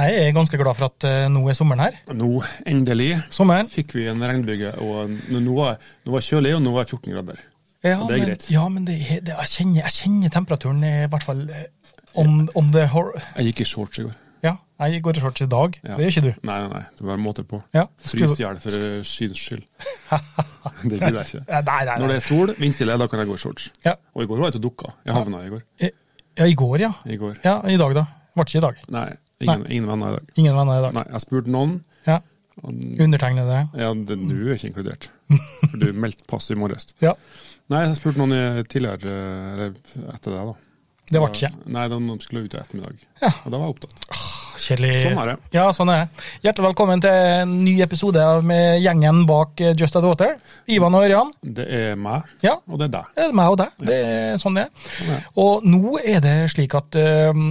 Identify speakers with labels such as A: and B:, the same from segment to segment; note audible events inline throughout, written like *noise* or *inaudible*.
A: Jeg er ganske glad for at eh, nå er sommeren her.
B: Nå, endelig,
A: Sommeren.
B: fikk vi en regnbyge, og nå- nå var, nå var kjølig, og nå var det 14 grader.
A: Ja,
B: Det er
A: men,
B: greit.
A: Ja, men det, er- det, jeg, kjenner, jeg kjenner temperaturen i hvert fall eh, on, on the hor...
B: Jeg gikk i shorts i går.
A: Ja, jeg går i shorts i dag.
B: Ja.
A: Det gjør ikke du.
B: Nei, nei, nei, det var en måte på.
A: Ja.
B: Frys i hjel for eh,
A: *laughs*
B: skyens skyld. det gidder jeg ikke.
A: Eh, Nei, nei,
B: Når
A: nei.
B: det er sol, vindstille, da kan jeg gå i shorts.
A: Ja.
B: Og i går var jeg ute og dukka. Jeg havna i går.
A: Eh, ja, i går, ja.
B: I går.
A: Ja, I dag, da. Ble ikke i dag.
B: Nei, ingen, ingen venner i dag.
A: Ingen venner i dag.
B: Nei, jeg spurte noen.
A: Ja.
B: og-
A: Undertegnede.
B: Ja, det- du er ikke inkludert. For du meldte pass i morges.
A: Ja.
B: Nei, jeg spurte noen i- tidligere, eh, eller etter det, da.
A: Det ble ikke.
B: Da- Nei, de skulle ut i ettermiddag.
A: Ja.
B: Og da var jeg opptatt.
A: Kjedelig.
B: Sånn er det.
A: Ja, sånn er det. Hjertelig velkommen til en ny episode av- med gjengen bak eh, Just At Water. Ivan og Ørjan.
B: Det er meg,
A: Ja,
B: og det er deg.
A: Det er meg og deg. Det er sånn det er.
B: Sånn er det.
A: Og nå er det slik at eh,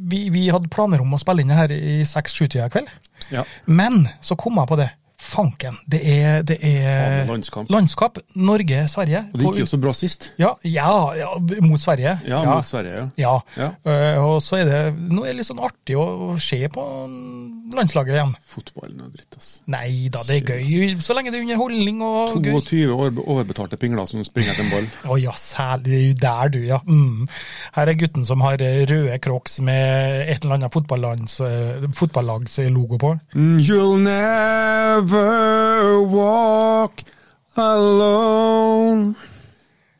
A: vi, vi hadde planer om å spille inn det her i 6-7-tida i kveld,
B: Ja.
A: men så kom jeg på det. Fanken, det er, det er
B: Faen, landskamp.
A: Landskamp Norge-Sverige.
B: Og det gikk jo så bra sist.
A: ja, ja, ja, mot Sverige.
B: Ja, mot Sverige. ja.
A: Ja.
B: Ja.
A: Eh, og så er det nå er det litt sånn artig å, å se på landslaget igjen.
B: Fotballen er dritt, ass.
A: Nei da, det er gøy. Så lenge det er underholdning og gøy.
B: 22 år overbetalte pingler som springer etter en ball.
A: Å ja, særlig det er jo der du, ja. Mm. Her er gutten som har eh, røde crocs med et eller annet fotballands- eh, fotballagslogo på.
B: *laughs* You'll never walk alone.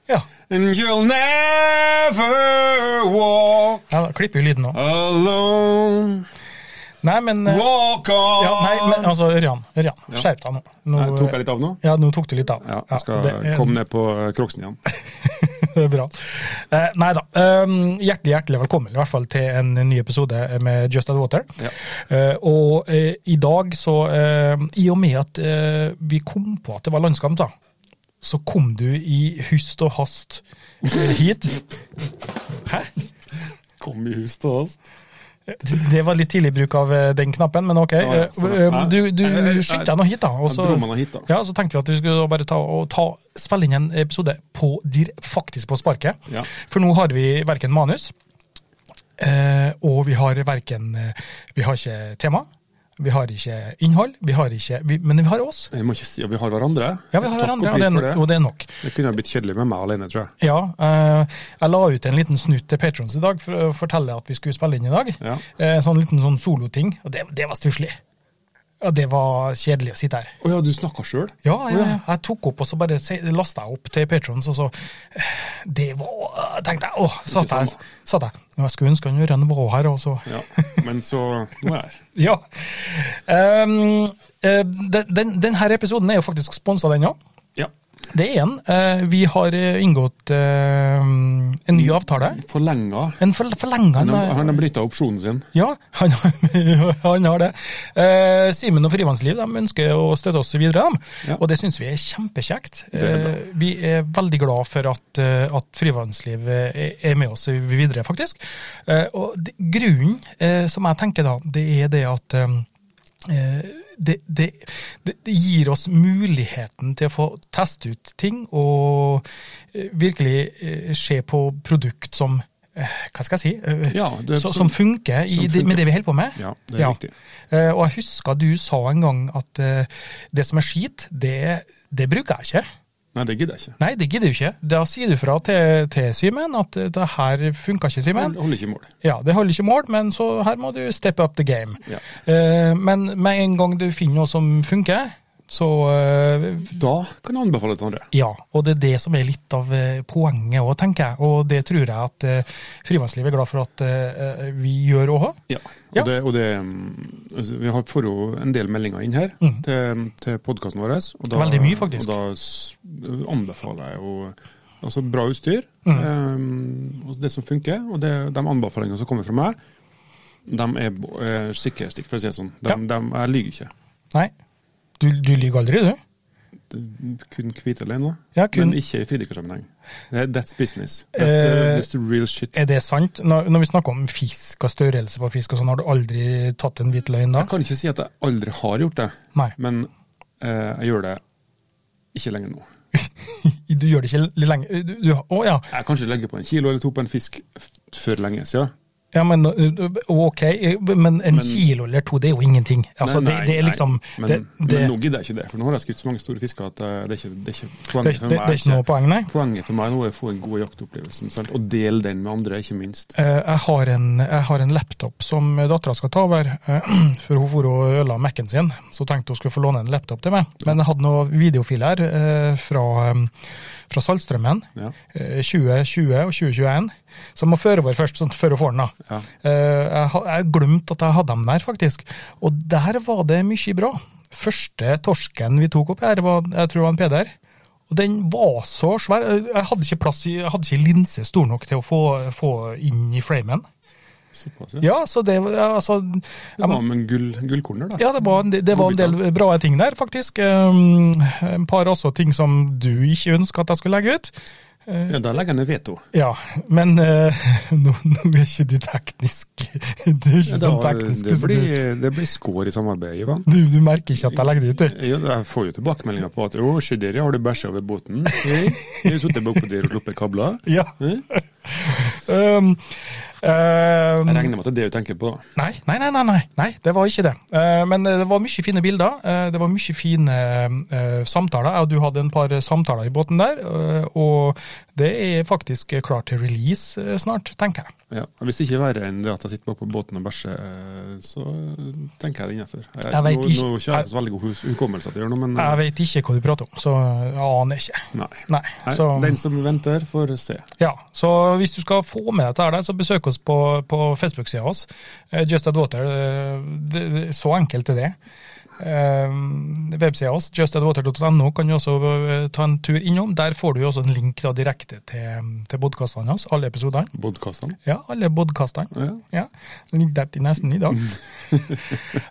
A: Ja,
B: And you'll never walk
A: ja da klipper jo lyden nå.
B: alone.
A: Nei, men eh,
B: Walk on!
A: ja, nei, men altså, Ørjan, Ørjan,
B: Ja.
A: skjerp deg nå. nå. eh,
B: Nei, tok jeg litt av nå?
A: Ja, nå tok du litt av.
B: Ja, jeg skal
A: det er-
B: komme ned på kroksen igjen.
A: Det er *laughs* Bra. Eh, nei da. ehm, hjertelig hjertelig velkommen i hvert fall til en ny episode med Just Add Water.
B: Ja.
A: Eh, og eh, i dag, så eh, I og med at eh, vi kom på at det var landskamp, da, så kom du i hyst og hast eh, hit.
B: Kom i hus til oss.
A: *laughs* Det var litt tidlig bruk av eh, den knappen, men ok.
B: Ja, ja, sånn,
A: Eh,
B: ja.
A: du du
B: Jeg- jeg-
A: skyndte deg nå hit, da. Og
B: Jeg
A: så,
B: dro meg nå hit, da.
A: ja, så tenkte vi at vi skulle da bare ta, og ta, spille inn en episode på, dir- faktisk på sparket.
B: Ja.
A: For nå har vi verken manus, eh, og vi har verken eh, Vi har ikke tema, vi har ikke innhold, vi har ikke vi, Men vi har oss.
B: Jeg må ikke si at vi har hverandre.
A: Ja, vi har
B: Takk og
A: hverandre, og
B: pris
A: det, er,
B: for
A: no- og det er nok.
B: Det kunne ha blitt kjedelig med meg alene, tror jeg.
A: Ja, eh, jeg la ut en liten snutt til Patrons i dag for å fortelle at vi skulle spille inn i dag.
B: Ja.
A: Eh, sånn liten sånn soloting, og det, det var stusslig. Ja, det var kjedelig å sitte her.
B: Å ja, du snakka sjøl?
A: Ja, jeg, jeg tok opp, og så bare lasta jeg opp til Patrons, og så eh, Det var tenkte jeg, åh, satt
B: Ikke
A: jeg,
B: samme.
A: satt jeg. «Nå, Jeg skulle ønske han Jørgen var her, og så
B: Ja. Men så Nå er jeg her.
A: Ja. Ehm, eh, den, den, den her episoden er jo faktisk sponsa, den òg.
B: Ja.
A: Det er en. Eh, vi har eh, inngått eh, en ny avtale.
B: Forlenga.
A: En for, forlenga
B: Han
A: en
B: har, han har brytta opsjonen sin.
A: Ja, han, han har *laughs* det. Eh, Simen og Frivannsliv de ønsker å støtte oss videre, dem.
B: Ja.
A: og det syns vi er kjempekjekt.
B: Det er bra.
A: Eh, vi er veldig glad for at, eh, at Frivannsliv eh, er med oss videre, faktisk. Eh, og det, grunnen eh, som jeg tenker da, det er det at eh, det, det, det det gir oss muligheten til å få teste ut ting og eh, virkelig eh, se på produkt som eh, Hva skal jeg si? Eh,
B: Ja, det-
A: så, som funker, i,
B: som
A: det-
B: funker.
A: med det vi holder på med.
B: Ja, det er riktig.
A: Eh, og jeg husker du sa en gang at eh, det som er skit, det, det bruker jeg ikke.
B: Nei, det gidder jeg ikke.
A: Nei, det gidder du ikke. Da sier du fra til, til Simen at eh, det her funka ikke, Simen.
B: Hold- Holder ikke mål.
A: Ja, det holder ikke mål, men så her må du step up the game.
B: Ja.
A: Eh, men med en gang du finner noe som funker, så eh,
B: Da kan jeg anbefale til andre.
A: ja, og det er det som er litt av eh, poenget òg, tenker jeg. Og det tror jeg at eh, frivannslivet er glad for at eh, eh, vi gjør òg.
B: Ja. Og
A: Ja.
B: det, og det mm, altså, Vi har- får jo en del meldinger inn her
A: Mm.
B: til, til podkasten vår. Og da,
A: Veldig mye, faktisk.
B: Og da s- anbefaler jeg jo altså, bra utstyr.
A: Mm.
B: eh, og det som funker. Og det, de anbefalingene som kommer fra meg, de er uh, sikkerhetstikk, for å si det sånn. De,
A: Ja.
B: de, jeg lyver ikke.
A: Nei, du, du lyver aldri, du.
B: kun hvite alene,
A: Ja, kun-
B: men ikke i fridykkersammenheng. Det er- That's business. That's,
A: Eh,
B: uh, that's the real shit.
A: Er det sant? Når, når vi snakker om fisk og størrelse på fisk og sånn, har du aldri tatt en hvit løgn da?
B: Jeg kan ikke si at jeg aldri har gjort det,
A: Nei,
B: men eh, jeg gjør det ikke lenger nå.
A: du gjør det ikke litt lenge. Du, du, å ja.
B: Jeg kan ikke legge på en kilo eller to på en fisk f- før lenge siden.
A: ja, men uh, ok, men en kilo eller to, det er jo ingenting. Altså,
B: Nei, nei,
A: det, det er
B: nei.
A: liksom
B: men,
A: det, det,
B: men nå gidder jeg ikke det, for nå har jeg skutt så mange store fisker at eh, det er ikke, det er ikke
A: det,
B: poenget
A: det,
B: for
A: det
B: meg.
A: er ikke noe poeng, nei.
B: Poenget for meg nå er å få en god jaktopplevelsen, sant? og dele den med andre, ikke minst.
A: Eh, Jeg har en, jeg har en laptop som dattera skal ta over, eh, *clears throat* for hun for og ødela Mac-en sin. Så tenkte hun skulle få låne en laptop til meg. Men jeg hadde noen videofiler eh, fra, eh, fra Saltstrømmen,
B: Ja.
A: eh, 2020 og 2021, som må føre over først, sånn før hun får den. da.
B: Ja.
A: Eh, Jeg ha- jeg glemte at jeg hadde dem der, faktisk. Og der var det mye bra. Første torsken vi tok opp her, var, jeg tror det var en Peder. Og den var så svær. Eh, Jeg hadde ikke plass i, jeg hadde ikke linse stor nok til å få, få inn i framen.
B: Såpass, ja.
A: Ja, så det var- ja, altså,
B: Det
A: jeg må-
B: var med en gull, gullkorner, da.
A: ja, det var, en del- det var en del bra ting der, faktisk. Um, Et par også ting som du ikke ønska at jeg skulle legge ut.
B: Ja, da legger jeg ned veto.
A: Ja, men eh, *laughs* nå, nå er ikke du teknisk. Du er ikke
B: Ja, da,
A: sånn teknisk.
B: det,
A: så du-
B: blir, det blir skår i samarbeidet, Ivan.
A: Du, du merker ikke at jeg legger det ut, du.
B: Ja, jeg får jo tilbakemeldinger på at jo, se der, ja, har du bæsja over båten?
A: *laughs*
B: Ja, Jeg har sittet bak på der og sluppet kabler.
A: Ja.
B: Mm.
A: Um, um,
B: Jeg regner med at det er det du tenker på, da.
A: nei, nei, nei, nei, nei, nei, det var ikke det. Eh, men det var mye fine bilder. eh, det var mye fine eh, samtaler. Jeg og du hadde en par samtaler i båten der. eh, og det er faktisk klart til release eh, snart, tenker jeg.
B: Ja, og Hvis det ikke er verre enn det at jeg sitter bak på båten og bæsjer, eh, så eh, tenker jeg det innafor. Nå,
A: Jeg vet
B: nå
A: ikke-
B: har ikke jeg så veldig god hus- hukommelse til å gjøre noe, men eh,
A: Jeg vet ikke hva du prater om, så jeg aner ikke.
B: nei.
A: Nei,
B: nei.
A: så,
B: Den som venter, får se.
A: ja, så hvis du skal få med dette her, der, så besøk oss på, på Facebook-sida vår. Eh, Just Add Water. eh, Det, det, så enkelt er det. Eh, Websida vår, justadwater.no, kan du også eh, ta en tur innom. Der får du jo også en link da, direkte til, til podkastene våre, alle episodene.
B: Bodkassene.
A: Ja, alle podkastene.
B: Ja.
A: Ja, den ligger der til nesten i dag.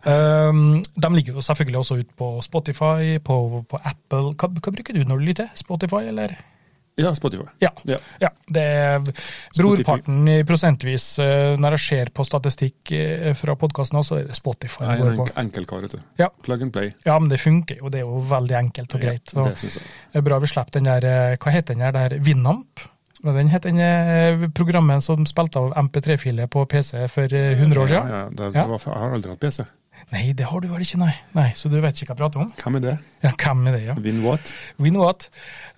A: um, de ligger jo selvfølgelig også ute på Spotify, på, på Apple. Hva, hva bruker du når du lytter? Spotify, eller?
B: ja, Spotify.
A: Ja.
B: Ja.
A: Ja, det er brorparten i prosentvis eh, når jeg ser på statistikk eh, fra podkasten, så er det Spotify.
B: Jeg
A: det
B: er en
A: går på.
B: enk- enkel kar, vet du.
A: Ja.
B: Plug and play.
A: ja, men det funker jo. Det er jo veldig enkelt og greit.
B: Ja,
A: Så
B: det synes jeg.
A: det er bra vi slipper den der eh, Hva heter den der, der Vinamp? Men Den het den eh, programmet som spilte av MP3-filer på PC for eh, 100 år siden.
B: Ja, ja, det,
A: Ja.
B: det var, jeg har aldri hatt PC.
A: Nei, det har du vel ikke, nei. Nei, Så du vet ikke hva jeg prater om?
B: Hvem er det?
A: Ja, hvem er det, ja?
B: Win what?
A: We know what.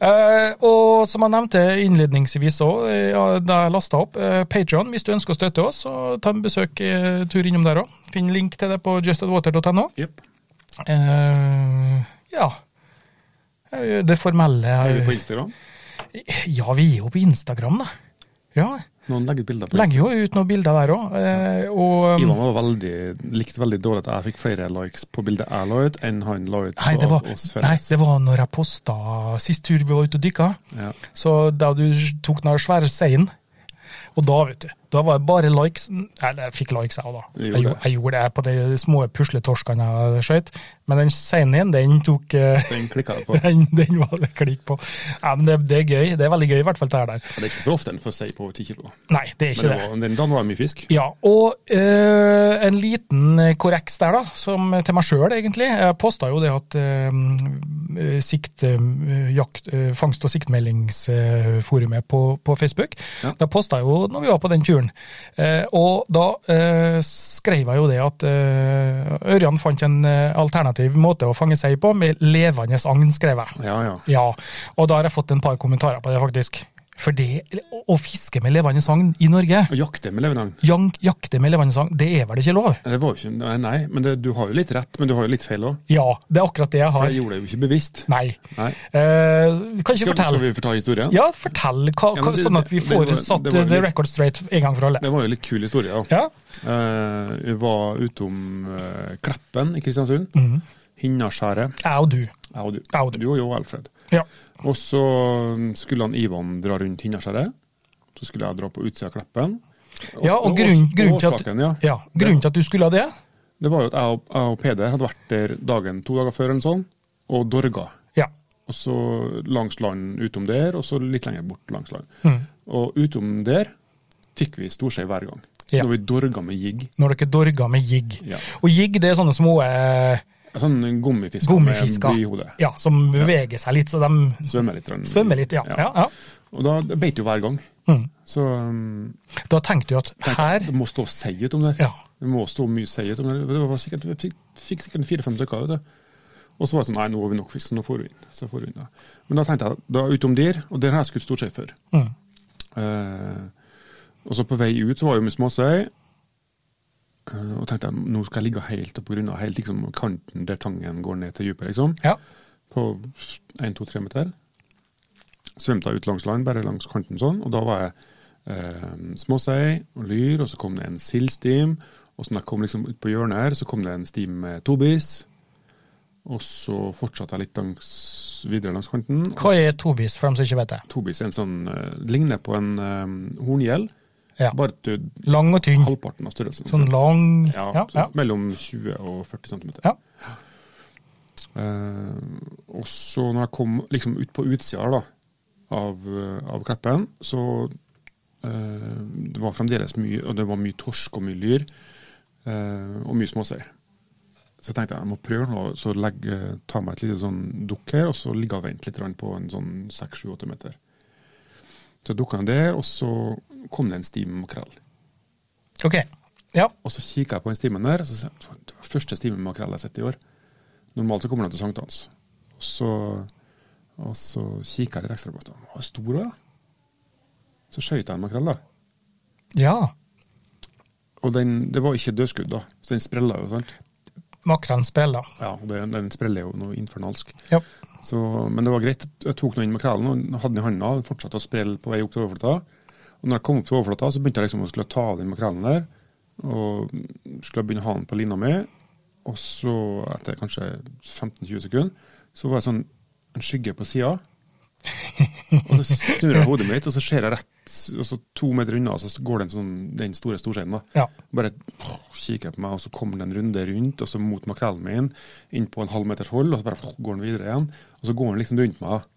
A: Eh, og som jeg nevnte innledningsvis òg, ja, da jeg lasta opp, uh, Patron, hvis du ønsker å støtte oss, så ta en besøk, eh, tur innom der òg. Finn link til det på justadwater.no.
B: Jepp.
A: Eh, ja. Eh, Det formelle
B: Er
A: er
B: vi på Instagram?
A: Ja, vi er jo på Instagram, da. Ja.
B: Noen legger ut bilder på Instagram.
A: Legger jo ut noen bilder der òg. og
B: Ivan var veldig, likte veldig dårlig at jeg fikk flere likes på bildet jeg la ut, enn han la ut
A: Nei, det
B: på
A: var,
B: oss
A: nei,
B: felles.
A: det var når jeg posta sist tur vi var ute og dykka.
B: Ja.
A: Så da du tok den svære seien, og da, vet du, da var det bare likes Eller, jeg fikk likes, jeg òg, da.
B: Du
A: Jeg,
B: gjorde
A: gjorde-
B: det.
A: jeg gjorde det på de små pusletorskene jeg skjøt. Men den seien din, den tok eh, *laughs*
B: Den klikket jeg på.
A: Den, den var det klikk på. Ja, men det, det er gøy. Det er veldig gøy, i hvert fall, det her der.
B: Det er ikke så ofte en får si på over 10 kilo.
A: Nei, det er
B: Men
A: ikke
B: det
A: det.
B: var, den dagen var det mye fisk.
A: Ja, og eh, en liten korreks der, da, som til meg sjøl, egentlig. Jeg posta jo det at eh, sikt, eh, jakt, eh, fangst- og siktmeldingsforumet på, på Facebook.
B: Ja.
A: Da posta jeg jo når vi var på den turen. Eh, og da eh, skrev jeg jo det at eh, Ørjan fant en eh, alternativ måte å fange sei på, med levende agn, skrev jeg.
B: Ja, ja.
A: Ja, og da har jeg fått en par kommentarer på det, faktisk. For det å- å fiske med levende agn i Norge
B: Å jakte med levende agn.
A: Jank, jakte med levende sang, det er vel ikke lov?
B: Det var jo ikke, nei, nei, men det, du har jo litt rett, men du har jo litt feil òg.
A: Ja, det er akkurat det jeg
B: For
A: har.
B: jeg gjorde det jo ikke bevisst.
A: Nei.
B: Nei.
A: Eh, kan ikke
B: Skal, skal
A: fortelle.
B: vi fortelle historien?
A: Ja, fortell, hva,
B: Ja,
A: hva,
B: men det-
A: sånn at vi
B: det-
A: får
B: det var-
A: satt
B: det var
A: the
B: litt-
A: record straight en gang for alle.
B: Det var jo litt kul historie. da.
A: Ja,
B: Eh, vi var utom eh, Kleppen i Kristiansund. Hinnaskjæret.
A: jeg og du.
B: Jeg og du.
A: Jeg Mhm. og du.
B: Du og jo, Alfred.
A: Ja.
B: Og så skulle han Ivan dra rundt Hinnaskjæret. Så skulle jeg dra på utsida av Kleppen.
A: Ja, og grunn- grunnen til at-
B: årsaken, ja.
A: ja. Grunnen til at du skulle ha det?
B: Det var jo at jeg og, jeg og Peder hadde vært der dagen to dager før eller sånn, og dorga.
A: Ja.
B: og så langs land utom der, og så litt lenger bort langs land.
A: Mm.
B: Og utom der fikk vi storskei hver gang.
A: Ja.
B: Når vi dorga med jigg.
A: Når dere dorger med jigg.
B: Ja.
A: Og jigg det er sånne små eh,
B: Sånn gummifisker
A: gummifisker
B: med bly i hodet.
A: ja, som beveger seg litt, så de
B: Svømmer litt. grann.
A: svømmer litt. Ja. Ja. Ja,
B: Og da det beit jo hver gang.
A: Mm.
B: Så um,
A: Da tenkte du at
B: tenkte jeg,
A: her
B: det må stå sei utom der.
A: ja,
B: Det må stå mye sei utom der. Det var sikkert, vi fikk, fikk sikkert fire-fem stykker. vet du. Og så var det sånn, nei, nå har vi nok fisk, så nå får vi inn. Så får vi inn da. Men da tenkte jeg, da utom der, og der har jeg skutt stort sett før.
A: Mm.
B: Eh, og så på vei ut så var jeg med småsøy, eh, og tenkte jeg, nå skal jeg ligge helt oppe på grunna, helt liksom kanten der tangen går ned til djupet, liksom.
A: ja.
B: På 1-2-3 meter. Svømte jeg ut langs land, bare langs kanten sånn, og da var jeg eh, småsei og lyr, og så kom det en sildstim, og så når jeg kom liksom ut på hjørnet her, så kom det en stim med tobis, og så fortsatte jeg litt langs, videre langs kanten. og
A: Hva er tobis, for dem som ikke vet det?
B: Tobis er en sånn, eh, ligner på en eh, horngjell,
A: Ja.
B: bare at du-
A: Lang og tynn.
B: halvparten av størrelsen.
A: Sånn lang
B: Ja,
A: Ja. ja.
B: så Mellom 20 og 40 cm.
A: Ja.
B: Eh, og så når jeg kom liksom ut på utsida her da, av, eh, av kleppen, så eh, det var fremdeles mye, og det var mye torsk og mye lyr, eh, og mye småsei. Så tenkte jeg jeg må prøve nå, så legge, ta meg et lite sånn dukk her, og så ligge og vente litt grann på en sånn 6-7-8 meter. Så dukka jeg der, og så kom det en stim makrell.
A: Ok. Ja.
B: Og så kikker jeg på den stimen der, og så sier jeg "Faen, det var første stimen med makrell jeg har sett i år. Normalt så kommer den til sankthans. Og så, og så kikker jeg litt ekstra på den. Den var stor òg, ja. Så skjøt jeg en makrell, da.
A: ja.
B: Og den, det var ikke dødskudd, da, så den sprella jo, sant.
A: Makrellen spreller.
B: Ja, og det, Den spreller jo noe infernalsk.
A: Ja.
B: Så, men det var greit. Jeg tok nå inn makrellen og hadde den i handa og fortsatte å sprelle på vei opp til overflata. Og når jeg kom opp til overflata, så begynte jeg liksom å skulle ta av den makrellen der. Og skulle begynne å ha den på lina mi. Og så, etter kanskje 15-20 sekunder, så var det sånn en skygge på sida. Og så snur jeg hodet mitt, og så ser jeg rett og så to meter unna, og så går den, sånn, den store storskjeden. da.
A: Ja.
B: Bare kikker på meg, og så kommer den en runde rundt, og så mot makrellen min, inn på en halv meters hold, og så bare går den videre igjen. Og så går den liksom rundt meg.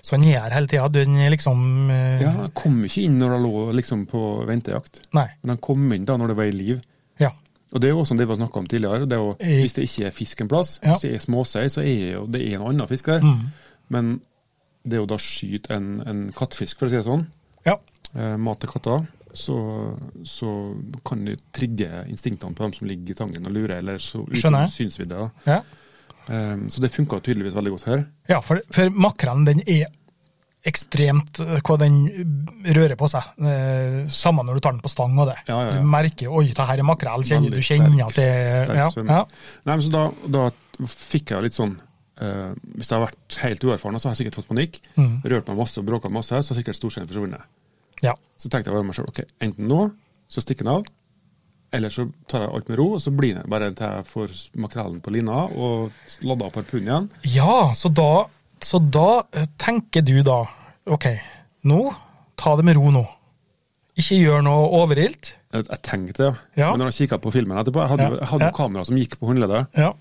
A: Så han Sånn gjør hele tida. Den er liksom eh,
B: Ja, Den kom ikke inn når jeg lå liksom på ventejakt,
A: Nei.
B: men den kom inn da når det var i liv.
A: Ja.
B: Og det er jo også det vi har snakka om tidligere, det er jo,
A: I-
B: hvis det ikke er fisk en plass,
A: Ja.
B: hvis det er småsei, så er jo det er en annen fisk der.
A: Mm.
B: Men det er jo da skyte en, en kattfisk, for å si det sånn,
A: Ja.
B: eh, mat til katter, så, så kan de trigge instinktene på dem som ligger i tangen og lurer, eller så
A: Skjønner
B: utenom synsvidde. da.
A: ja.
B: Um, så det funka tydeligvis veldig godt her.
A: Ja, for, for makrellen den er ekstremt eh, hva den rører på seg. Eh, Samme når du tar den på stang og det.
B: Ja, ja, ja.
A: Du merker oi, det her er makrell. Kjenner,
B: Veldig
A: du kjenner
B: sterk-
A: at det
B: sterk
A: ja,
B: svømming.
A: ja,
B: Nei, men så da, da fikk jeg litt sånn eh, Hvis jeg har vært helt uerfaren, så har jeg sikkert fått panikk.
A: Mm.
B: Rørt meg masse og bråka masse, så har sikkert storskjellen forsvunnet.
A: ja.
B: Så tenkte jeg bare meg sjøl ok, enten nå, så stikker den av. Eller så tar jeg alt med ro, og så blir det bare til jeg får makrellen på lina og lada opp harpunen igjen.
A: ja så, da, så da eh, tenker du da OK, nå ta det med ro nå. Ikke gjør noe overilt.
B: Jeg, jeg tenkte det, ja.
A: Ja.
B: Men når jeg kikka på filmen etterpå, jeg hadde,
A: Ja,
B: jeg hadde jo
A: ja.
B: kamera som gikk på håndleddet,
A: Ja.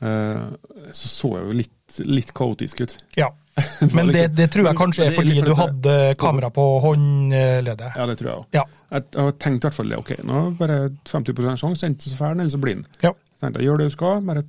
B: eh, så så jeg jo litt, litt kaotisk ut.
A: ja.
B: *laughs* Det var
A: Men det,
B: liksom-
A: det tror jeg
B: Men-
A: kanskje
B: men
A: er
B: det litt
A: fordi du
B: fordi det-
A: hadde kamera på håndleddet.
B: Ja, det tror jeg òg.
A: Ja.
B: Jeg, jeg tenkte i hvert fall det. Ok, nå er det bare 50 sjanse, enten så får den, eller så blir den.
A: Ja.
B: Jeg tenkte jeg gjør det du skal, bare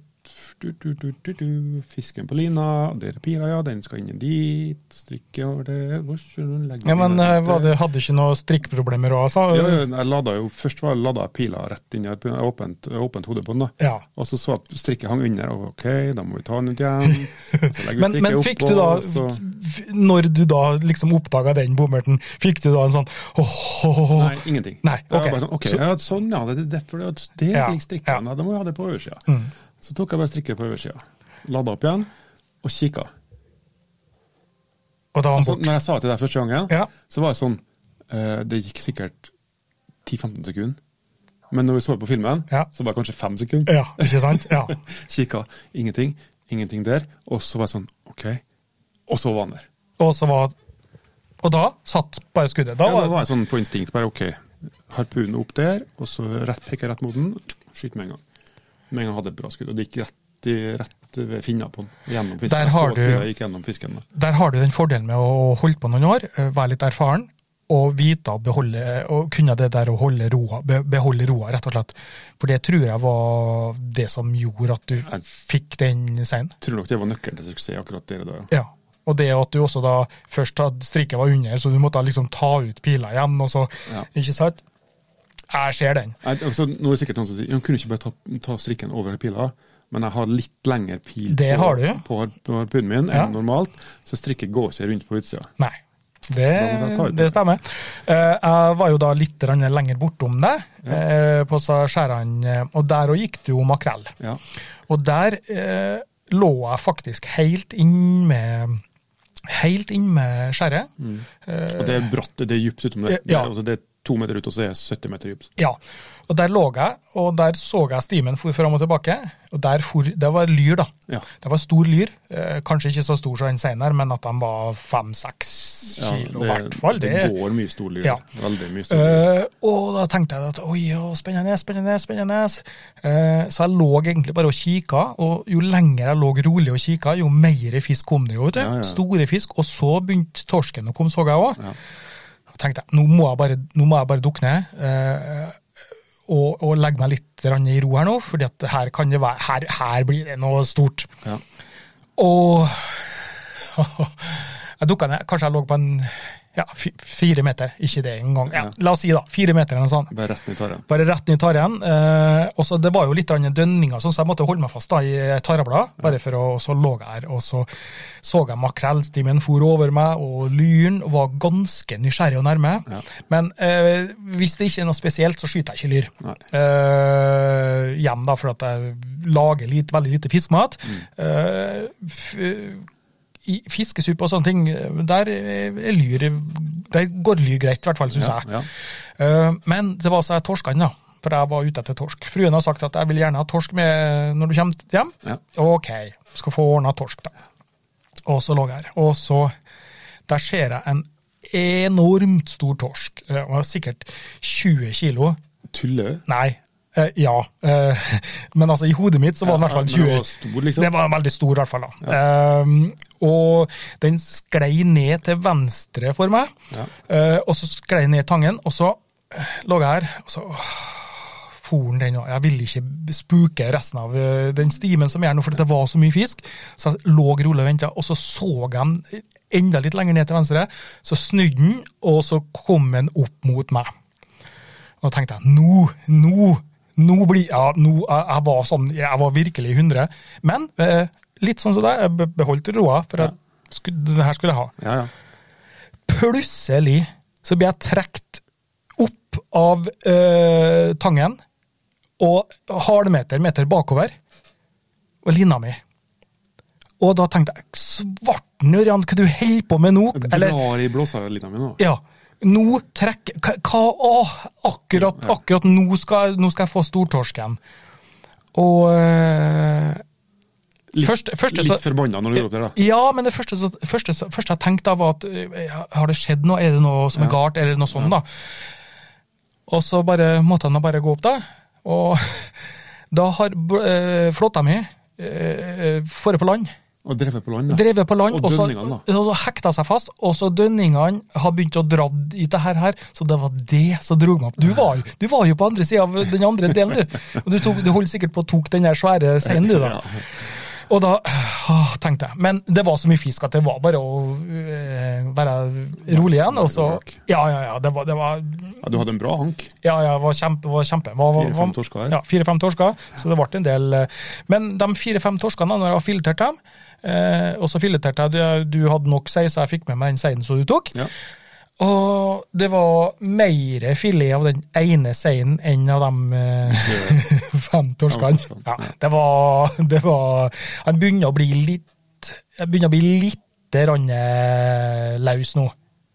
B: du, du, du, du, du, fisken på lina, og der er pila, ja, den skal inn dit, strikke over der vosj, og legge
A: Ja, men
B: den
A: eh,
B: der.
A: var det, hadde ikke noe strikkproblemer òg, altså?
B: Ja, ja, jeg lada jo, Først var lada jeg pila rett inn i harpunen, jeg åpent, jeg åpent hode på den. da.
A: Ja.
B: Og så så jeg at strikket hang under, og ok, da må vi ta den ut igjen. Så legger vi
A: *laughs* Men, men
B: strikket
A: fikk
B: opp,
A: du da,
B: og så...
A: f- når du da liksom oppdaga den bommerten, fikk du da en sånn åh, åh, åh, åh.
B: Nei, ingenting.
A: Nei,
B: Jeg var
A: ok.
B: bare sånn, ok,
A: Så-
B: ja, sånn ja, det er derfor det, er- det
A: Ja, Mm.
B: ligger strikken, da må jeg ha det på oversida. Så tok jeg bare strikken på oversida, lada opp igjen og kikka.
A: Og da var han
B: Altså,
A: borte.
B: når jeg sa til deg første gangen,
A: Ja.
B: så var det sånn eh, Det gikk sikkert 10-15 sekunder. Men når vi så på filmen,
A: Ja.
B: så var det kanskje 5 sekunder.
A: Ja, ikke sant? Ja.
B: *laughs* Kikka, ingenting, ingenting der. Og så var jeg sånn, OK. Og så var han der.
A: Og så var Og da satt bare skuddet. Da
B: Ja, da
A: var
B: var jeg sånn på instinkt. Bare OK, harpunen opp der, og så rett, peker jeg rett mot den. Skyt med en gang. Med en gang hadde jeg et bra skudd, og det gikk rett i, rett rett ved finna på den. Gjennom fisken.
A: Der har
B: Jeg så at
A: du-
B: pila gikk gjennom fisken. da.
A: Der har du den fordelen med å holde på noen år, eh, være litt erfaren, og vite og beholde, eh, og kunne det der å holde roa, be- beholde roa, rett og slett. For det tror jeg var det som gjorde at du fikk den seinen.
B: Tror nok det var nøkkelen til suksess akkurat der og da. ja.
A: Ja. Og det at du også da først hadde strikket var under, så du måtte liksom ta ut pila igjen, og så
B: Ja.
A: Ikke sant? Jeg ser den.
B: Nei, Altså, nå er det sikkert noen som sier han kunne ikke bare ta, ta strikken over pila, men jeg har litt lengre pil
A: Det
B: på,
A: har du.
B: på, på harpunen min
A: Ja.
B: enn normalt, så strikket går seg rundt på utsida.
A: Nei.
B: da må jeg ta
A: Det,
B: ut
A: det stemmer. Eh, Jeg var jo da litt grann lenger bortom deg, eh, på så skjærene, eh, og der òg gikk det jo makrell.
B: Ja.
A: Og der eh, lå jeg faktisk helt inn med Helt inn med skjæret.
B: Mm. Og det er bratt, det er dypt utom det.
A: Eh, ja.
B: Det, er, altså, det er to meter ut, og så er det 70 meter dypt.
A: Ja. Og der lå jeg, og der så jeg stimen for fram og tilbake. Og der for, det var lyr, da.
B: Ja.
A: Det var stor lyr. Eh, kanskje ikke så stor som den senere, men at den var fem-seks
B: Ja,
A: kilo, i hvert fall.
B: det,
A: det
B: går mye storlyr.
A: Ja.
B: Veldig mye storlyr.
A: Eh, og da tenkte jeg at oi, å, spennende, spennende, spennende. Eh, så jeg lå egentlig bare og kikka, og jo lenger jeg lå rolig og kikka, jo mer fisk kom det jo. vet du.
B: Ja, ja.
A: Store fisk. Og så begynte torsken å komme, så jeg òg.
B: Ja.
A: Og tenkte jeg, nå må jeg bare, nå må jeg bare dukke ned. eh, og, og legge meg litt grann i ro her nå, for her, kan det være- her, her blir det noe stort.
B: Ja.
A: Og *laughs* jeg dukka ned. Kanskje jeg lå på en ja, fi- fire meter. Ikke det engang. Ja,
B: Ja.
A: la oss si da, fire meter eller noe sånt.
B: Bare rett ned i tarren.
A: Bare rett ned i tarren. Eh, og så det var jo litt grann dønninger, sånn, så jeg måtte holde meg fast da, i tarrebladet. Bare for å, og så lå jeg her, og så så jeg makrellstimen for over meg, og lyren var ganske nysgjerrig og nærme.
B: Ja.
A: Men eh, hvis det ikke er noe spesielt, så skyter jeg ikke lyr.
B: Nei.
A: Eh, hjem, da, for at jeg lager litt, veldig lite fiskemat.
B: Mm.
A: Eh, f- i fiskesuppe og sånne ting, eh, der, er lyr, der går lyr greit, i hvert fall, syns
B: Ja,
A: jeg.
B: ja.
A: Eh, Men det var så jeg torskene, da. For jeg var ute etter torsk. Fruen har sagt at jeg vil gjerne ha torsk med når du kommer hjem.
B: Ja.
A: Ok, skal få ordna torsk, da. Og så lå jeg her. Og så Der ser jeg en enormt stor torsk. Eh, Den var sikkert 20 kilo.
B: Tuller du?
A: Nei. eh, ja. eh, *laughs* men altså, i hodet mitt så var den i hvert fall
B: Ja,
A: 20
B: men den var stor, liksom.
A: det var veldig stor, i hvert fall. da. Ehm, og den sklei ned til venstre for meg,
B: Ja.
A: Eh, og så sklei den ned tangen, og så eh, lå jeg her, og så åh, for den den òg. Jeg ville ikke spuke resten av eh, den stimen som er her nå, for det var så mye fisk. Så jeg lå rolig og venta, og så så jeg den enda litt lenger ned til venstre. Så snudde den, og så kom den opp mot meg. Og da tenkte jeg nå, nå, nå blir ja, nå, jeg, jeg var sånn, jeg var virkelig i 100. Men eh, litt sånn som deg, jeg be- beholdt roa, for jeg, skulle, det her skulle jeg ha.
B: Ja, ja.
A: Plutselig så blir jeg trukket opp av eh, tangen, og halvmeter, meter bakover, og lina mi. Og da tenkte jeg, svarten Ørjan, hva du holder på med nå?
B: Jeg
A: Eller-
B: drar i blåserlinja mi nå.
A: ja. Nå trekk hva- Hva Å, akkurat, akkurat nå, skal, nå skal jeg få stortorsken. Og eh,
B: Litt,
A: Først- først så-
B: litt forbanna når du går opp der, da.
A: Ja, men det første, så- første, så- første jeg tenkte da, var at eh, har det skjedd noe? Er det noe som er
B: Ja.
A: galt? Eller noe sånt, da. Og så bare, måtte han da bare gå opp, da. Og *laughs* da har bl- eh, flåtta mi eh, Forrige på land.
B: Og drevet på land. da.
A: Drevet på land,
B: Og
A: og, så,
B: dønningene,
A: og så hekta seg fast. Og så dønningene har begynt å dra i det her, her, så det var det som dro meg opp. Du var, jo- du var jo på andre sida av den andre delen, du. Og du, tok, du holdt sikkert på å tok den der svære seinen, du, da.
B: Ja.
A: Og da åh, tenkte jeg. Men det var så mye fisk at det var bare å øh, være rolig igjen. Og så Ja, ja, ja. Det var, det var,
B: Ja, du hadde en bra hank.
A: ja, ja, var kjempe. Var kjempe. Var, var,
B: Fire-fem torsker her.
A: Ja, fire-fem torsker. Så det ble en del. eh, Men de fire-fem torskene, da, når jeg har filetert dem eh, Og så fileterte jeg, du, du hadde nok sei, så jeg fikk med meg den seien som du tok.
B: Ja.
A: Og det var mer filet av den ene seien enn av de eh, *laughs* fem torskene.
B: torskene,
A: Ja, det var, det var Han begynner å bli litt Jeg begynner å bli litt grann, eh, løs nå.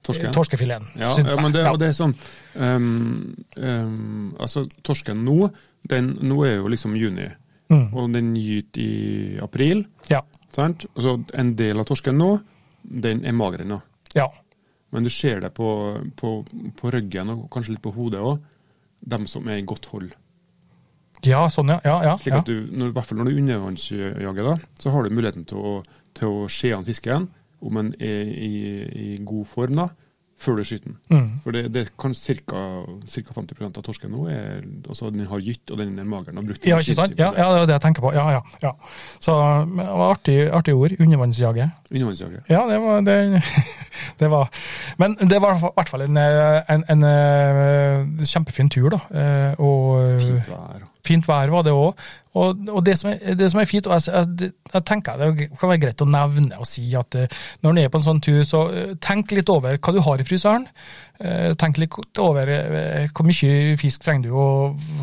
B: Torsken.
A: Torskefileten,
B: Ja,
A: syns jeg.
B: ja, men det,
A: Ja.
B: og det er sånn ehm, ehm, Altså, torsken nå den, Nå er jo liksom juni,
A: Mm.
B: og den gyter i april.
A: Ja,
B: Sant? Altså, en del av torsken nå, den er mager ennå.
A: ja.
B: Men du ser det på, på, på ryggen og kanskje litt på hodet òg, dem som er i godt hold.
A: Ja, sånn, ja. ja,
B: Slik
A: ja,
B: at du, når, i hvert fall når du undervannsjager, da, så har du muligheten til å, til å se an fisken om den er i, i god form da, før du skyter den.
A: ja. Mm.
B: For det, det kan ca. 50 av torsken nå er, altså den har gytt, og den er mager. Den har brukt
A: Ja, ikke sant? Ja, ja, det er det jeg tenker på. Ja, ja, ja. Så men det var artig, artig ord. Undervannsjage.
B: Undervannsjager.
A: Ja, det var, det, *laughs* det var Men det var i hvert fall en, eh, en, en eh, kjempefin tur, da. Eh, Og
B: Fint vær. og-
A: Fint vær var det òg. Og, og det, som er, det som er fint, og jeg, jeg, jeg tenker det kan være greit å nevne og si at eh, når en er på en sånn tur, så eh, tenk litt over hva du har i fryseren. Eh, Tenk litt over eh, hvor mye fisk trenger du å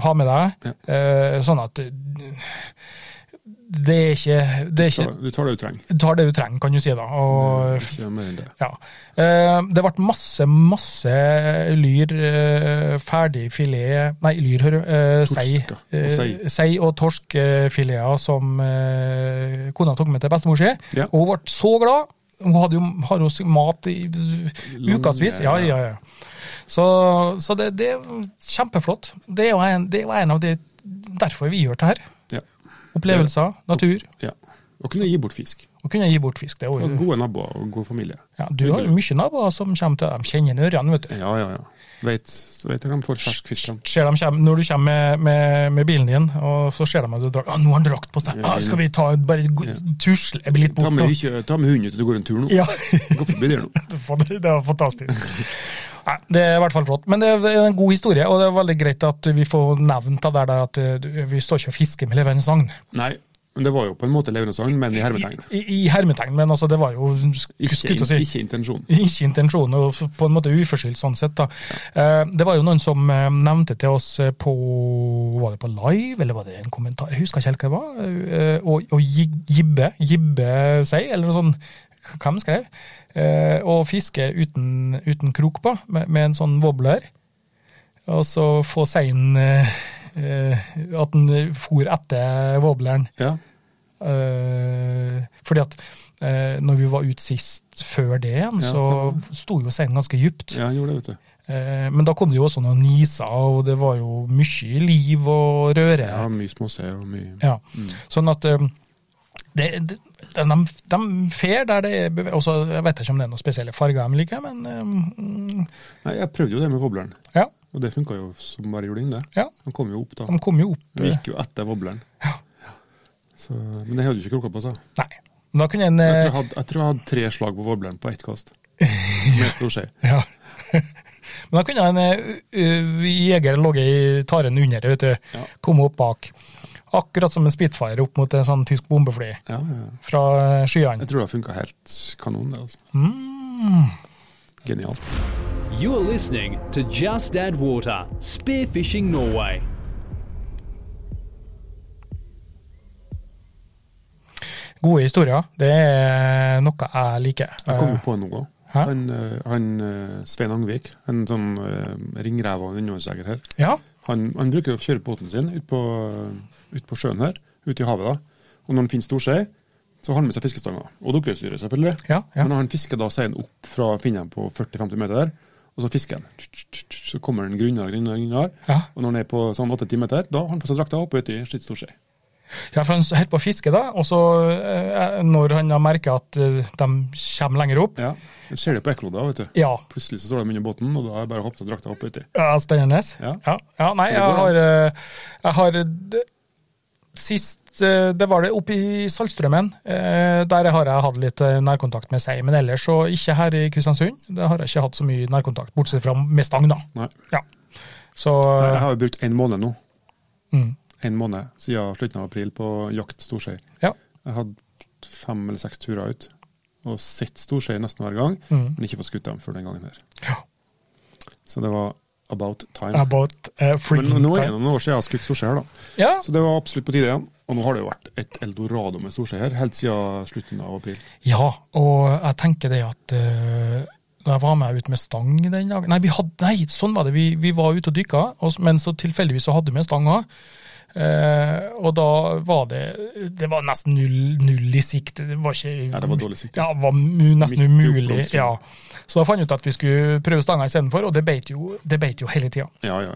A: ha med deg. eh, Sånn at eh, det er ikke, det er ikke
B: Så Mm. Du tar det du trenger.
A: Du tar det du trenger, kan du si. da. Og
B: Ikke mer enn det.
A: ja. Eh, Det ble masse, masse lyr, eh, ferdig filet Nei, lyr, hører eh, sei.
B: Torsker og
A: Eh,
B: sei.
A: Sei og torskfileter som eh, kona tok med til bestemor si.
B: Ja.
A: Og hun ble så glad. Hun hadde jo har jo mat i
B: Lange-
A: ukevis. Ja, ja, ja. Så, så det, det er kjempeflott. Det er jo en, det er jo en av de derfor vi gjør det her.
B: Ja.
A: Opplevelser, natur.
B: ja. Å kunne gi bort fisk.
A: Å kunne gi bort fisk. Det er
B: Og
A: jo,
B: gode naboer og god familie.
A: ja, du har jo mye naboer som kommer til De kjenner ørene, vet du.
B: Ja, ja, ja. Vet, så vet jeg de får fersk fisk. da.
A: ser de kjem, når du kommer med, med, med bilen din, og så ser de at du drar ah, 'Nå har han drakt på seg! Ah, skal vi ta bare gå- tusle jeg blir litt
B: Ta
A: bort
B: med,
A: nå?'
B: ikke, ta med hunden ut og gå en tur nå.
A: *laughs* Ja,
B: Gå forbi der nå.
A: det var
B: *laughs*
A: fantastisk. Nei, det er i hvert fall flott. Men det er en god historie, og det er veldig greit at vi får nevnt av det der at eh, du- vi står ikke og fisker med levende sagn.
B: Nei, men det var jo på en måte leveransagn, men i hermetegn.
A: I, i hermetegn, men altså, det var jo sk-
B: Ikke,
A: skutt å si.
B: ikke intensjon.
A: *laughs* Ikke intensjonen, og på en måte uforskyldt sånn sett. da. Eh, Det var jo noen som eh, nevnte til oss eh, på Var det på live, eller var det en kommentar? Jeg husker ikke helt hva det var. Eh, Og, og gi- Jibbe Jibbe seg, eller noe sånn. Hvem skrev? Eh, Og fiske uten, uten krok på, med, med en sånn wobbler. Og så få seien eh, eh, At den for etter wobbleren.
B: Ja.
A: Eh, fordi at eh, når vi var ute sist før det igjen,
B: Ja,
A: så sto jo seinen ganske dypt.
B: ja, han gjorde det, vet du.
A: Eh, men da kom det jo også noen niser, og det var jo mye liv og røre.
B: Ja, Mm. Mye småse og mye
A: Ja. Sånn at eh, det, det, de, de, de fer der det er beve- også, Jeg vet ikke om det er noen spesielle farger de liker, men eh, mm,
B: Nei, jeg prøvde jo det med wobleren,
A: ja,
B: og det funka jo som bare juling, det.
A: ja.
B: Han kom jo opp da.
A: De kom jo opp. eh,
B: Vi gikk jo etter wobleren. Så, men jeg hadde jo ikke klokka på seg.
A: Nei. Men da kunne en
B: Jeg
A: eh,
B: tror jeg, hadde, jeg tror jeg hadde tre slag på wobleren på ett kast. Med stor skje.
A: Ja. *laughs* Men da kunne en eh, ø- jeger ligget i taren under, vet du.
B: Ja.
A: Komme opp bak. Akkurat som en Spitfire opp mot en sånn tysk bombefly
B: Ja, ja. ja.
A: fra eh, skyene.
B: Jeg tror det funka helt kanon, det. altså.
A: Mm.
B: Genialt.
C: You are listening to Just Add Water, Spearfishing Norway.
A: Gode historier. Det er noe jeg liker.
B: Jeg kom jo
A: Eh,
B: på noe.
A: Hæ?
B: Han, eh, han eh, Svein Angvik, en sånn eh, ringrev av en undervannsjeger her,
A: Eh, Ja.
B: han, han bruker jo å kjøre båten sin ut på, eh, ut på sjøen her, ute i havet. da. Og når han finner storskei, så har han med seg fiskestanga. Og dukkeutstyret, selvfølgelig.
A: Ja, ja.
B: Men han fisker da seien opp fra finnen på 40-50 meter der, og så fisker han. Så kommer han grunnere, grunnere, grunnere.
A: Ja.
B: Og når han er på sånn 8-10 meter, da har han på seg drakta opp og uti sitt storskei.
A: ja, for han holdt på å fiske, da. Og så, eh, når han har merket at eh, de kommer lenger opp
B: Ja. Du ser det på ekkloda, vet du.
A: Ja.
B: Plutselig så står de under båten, og da er det bare å ha på seg drakta opp og uti.
A: Ja, spennende. Ja.
B: Ja.
A: Ja. nei,
B: Så det
A: jeg
B: går,
A: har, eh, jeg har d- Sist eh, det var det oppe i Saltstrømmen. eh, Der har jeg hatt litt eh, nærkontakt med sei. Men ellers så ikke her i Kristiansund. Der har jeg ikke hatt så mye nærkontakt, bortsett fra med stang, da.
B: Nei.
A: Ja. Så
B: Nei, Jeg har jo brukt en måned nå.
A: mm,
B: En måned siden slutten av april på jakt storskei.
A: ja.
B: Jeg hadde fem eller seks turer ut og sett storskei nesten hver gang,
A: Mm.
B: men ikke fått skutt dem før den gangen her.
A: Ja.
B: Så det var about time.
A: About uh,
B: Men
A: freaking
B: nå er det
A: time.
B: noen år siden jeg har skutt storskei her, da.
A: Ja,
B: Så det var absolutt på tide igjen. Og nå har det jo vært et eldorado med storskei her, helt siden slutten av april.
A: Ja, og jeg tenker det at eh, da jeg var med ut med stang den dagen Nei, vi hadde, nei sånn var det. Vi, vi var ute og dykka, og s- men så tilfeldigvis så hadde vi en stang òg. og da var det Det var nesten null, null i sikt. Det var ikke
B: Ja, det var dårlig sikt,
A: Ja, det var mu, nesten
B: Midt i
A: umulig.
B: oppblomstringen.
A: Ja. Så da fant vi ut at vi skulle prøve stanga istedenfor, og det beit jo, det beit jo hele tida.
B: Ja, ja.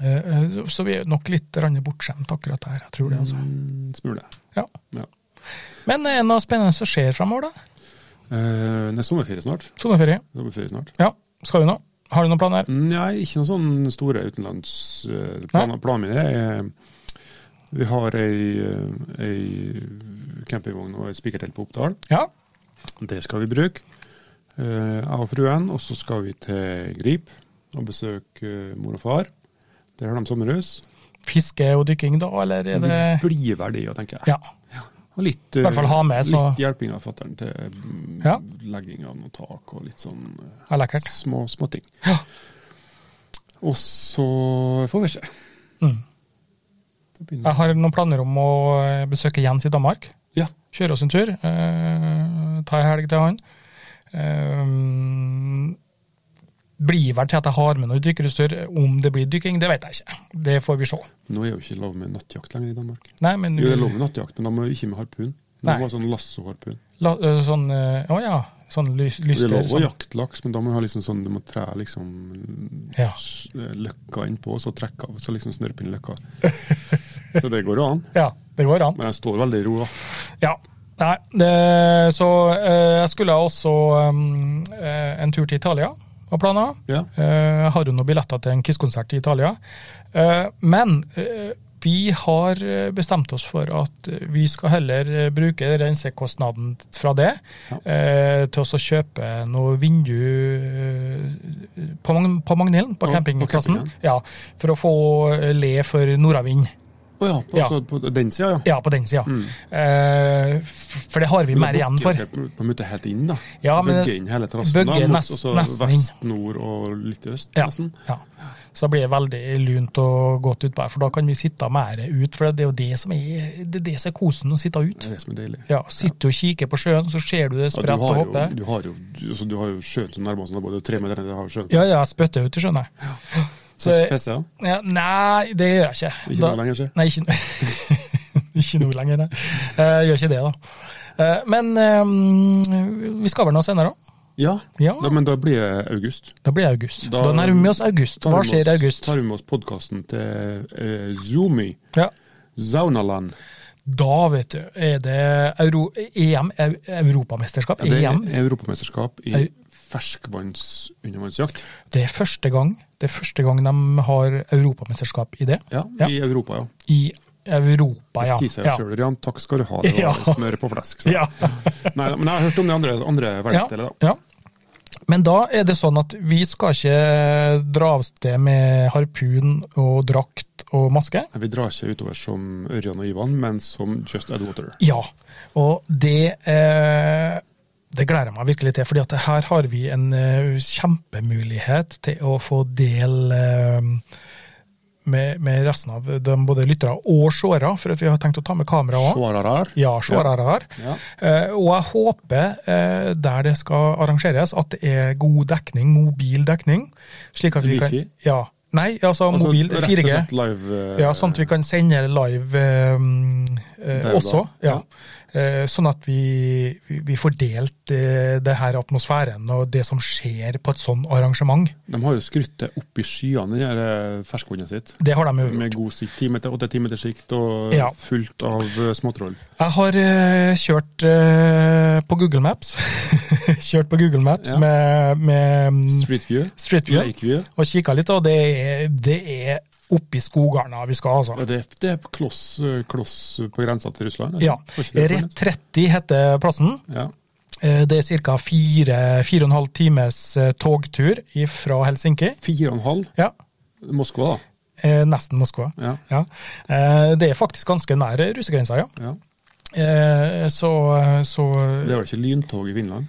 A: Eh, eh, så- Så vi er nok litt rann bortskjemt akkurat der, jeg tror det. altså.
B: Mm, Smule.
A: Ja.
B: Ja.
A: Men er det noe spennende som skjer framover, da?
B: Eh, det er sommerferie snart.
A: Sommerferie?
B: sommerferie snart.
A: Ja, skal du nå? Har du noen
B: Mm.
A: planer?
B: Nei, ikke noen sånne store utenlandsplaner. Planen min er eh, Vi har ei, eh, ei campingvogn og et spikertelt på Oppdal.
A: Ja?
B: Det skal vi bruke. Eh, Jeg og fruen. Og så skal vi til Grip og besøke eh, mor og far. Der har de sommerhus.
A: Fiske og dykking, da, eller er det
B: Det blir vel det, tenker jeg.
A: Ja.
B: Og litt, eh,
A: I hvert fall ha med, så-
B: litt hjelping av fatter'n til mm,
A: Ja.
B: legging av noen tak og litt sånn eh,
A: ja lekkert.
B: små småting.
A: Ja.
B: Og så får vi se.
A: Mm.
B: Da begynner
A: Jeg har noen planer om å eh, besøke Jens i Danmark.
B: Ja.
A: Kjøre oss en tur. eh, ta ei helg til han. Eh, blir vel til at jeg har med noe dykkerutstyr. Om det blir dykking, det vet jeg ikke. Det får vi se.
B: Nå er jo ikke lov med nattjakt lenger i Danmark.
A: Nei, men
B: Jo, det er lov med nattjakt, men da må du ikke med harpun. Da
A: Nei.
B: må du ha sånn lassoharpun.
A: la, eh, sånn eh, Å ja. Sånn lys,
B: Det er
A: lyster.
B: lov å
A: Sånn.
B: jakte laks, men da må du ha liksom sånn du må tre liksom
A: Ja.
B: s- eh, løkka innpå, så trekke av, så liksom snørrpinne
A: *laughs*
B: løkka. så det går jo an.
A: ja, det går an.
B: Men jeg står veldig i ro, da.
A: Ja. Nei, det, så eh, jeg skulle også eh, eh, en tur til Italia, var planen.
B: Ja.
A: Eh, Jeg har jo noen billetter til en Kiss-konsert i Italia. Eh, Men eh, vi har eh, bestemt oss for at eh, vi skal heller eh, bruke rensekostnaden fra det
B: Ja.
A: eh, til også å kjøpe noe vindu eh, på, Magn- på Magnhilden, på
B: Ja, på
A: campingplassen.
B: campingen.
A: Ja, for å få eh, le for nordavind.
B: Å ja, på,
A: Ja.
B: Så, på den sida, ja.
A: Ja, på den sida.
B: Mm.
A: Eh, f- For det har vi
B: Men da
A: mer igjen
B: bukker
A: for.
B: dere På på en måte helt inn, da.
A: Ja, men-
B: Bugge inn hele terrassen. da,
A: Bugge
B: mot-
A: nest-
B: og så
A: nesten inn.
B: Vest, nord og litt øst,
A: Ja.
B: nesten.
A: Ja. Så da blir det veldig lunt og godt utpå her, for da kan vi sitte mer ut. For det er jo det som er, det er, det som er kosen, å sitte ut.
B: Det er det som er deilig.
A: Ja, Sitte og kikke på sjøen, så ser du det
B: Ja,
A: spredt
B: du, har
A: og
B: jo,
A: hoppe.
B: du har jo, du- altså, du har jo sjøen til nærmeste nabo, det er jo tre meter ned, du har sjøen.
A: Ja, ja, jeg spytter ut i sjøen, jeg. Så,
B: Pisse, ja.
A: ja, nei, det gjør jeg ikke.
B: Ikke
A: Da-
B: noe lenger, ikke?
A: Nei, ikke, *laughs* ikke nå lenger, nei. Eh, gjør ikke det, da. Eh, men eh, vi skal vel nå senere òg?
B: Ja,
A: Ja,
B: Da, men da blir det august.
A: da blir det august. Da,
B: Da-
A: nærmer vi oss august.
B: Tar
A: Hva
B: vi med
A: skjer i
B: oss-
A: august?
B: Tar vi med oss podkasten til eh, Zoomy,
A: Ja.
B: Zaunaland.
A: Da, vet du, er det Euro, EM, eu- Europamesterskap, E
B: Ja, det er
A: EM.
B: europamesterskap i
A: Au.
B: ferskvannsundervannsjakt.
A: Det er første gang det er første gang de har europamesterskap i det.
B: Ja,
A: Ja.
B: I Europa, ja.
A: I Europa,
B: Det
A: ja.
B: sier seg
A: ja.
B: jo sjøl, Ørjan. Takk skal du ha. Det
A: *laughs* Ja.
B: var smør på flesk. så.
A: Ja.
B: Nei, men jeg har hørt om det andre, andre verdensdeler, da.
A: Ja. Men da er det sånn at vi skal ikke dra av sted med harpun og drakt og maske.
B: Nei, Vi drar ikke utover som Ørjan og Ivan, men som Just Add Water.
A: Ja, og det, eh, det gleder jeg meg virkelig til, fordi at her har vi en eh, kjempemulighet til å få del eh, med, med resten av de både lyttere og seere, for at vi har tenkt å ta med kamera òg.
B: Sjåararar.
A: Ja, seere her.
B: Ja.
A: Eh, og jeg håper, eh, der det skal arrangeres, at det er god dekning, mobil dekning. Slik at vi kan,
B: Wifi?
A: ja, Nei, altså
B: Altså,
A: mobil
B: rett og
A: 4G.
B: slett Live, eh,
A: Ja, sånn at vi kan sende live eh, eh,
B: Der og da.
A: også. Ja. Eh, sånn at vi, vi vi får delt eh, det her atmosfæren og det som skjer på et sånn arrangement.
B: De har jo skryttet opp i skyene, det der, eh, ferskvannet sitt.
A: Det har de jo gjort.
B: Med god sikt, 10 meter, 8 meter sikt og
A: Ja.
B: fullt av eh, småtroll.
A: Jeg har eh, kjørt eh, på Google Maps. *laughs* kjørt på Google Maps
B: Ja.
A: med, med mm,
B: Street View,
A: Street View
B: Lake View.
A: og kikka litt, og det er, det er oppi skogarna vi skal, altså.
B: Ja, det, er- det er kloss, eh, kloss på grensa til Russland? er det?
A: Ja.
B: Var ikke det
A: Rett 30 heter plassen.
B: for meg? Ja.
A: Eh, Det er ca. fire, fire og en halv times eh, togtur fra Helsinki.
B: Fire og en halv
A: Ja,
B: Moskva, da.
A: eh, nesten Moskva.
B: Ja.
A: Ja. Eh, Det er faktisk ganske nær russegrensa, ja.
B: ja.
A: Eh, Så, så
B: Det er vel ikke lyntog i Finland?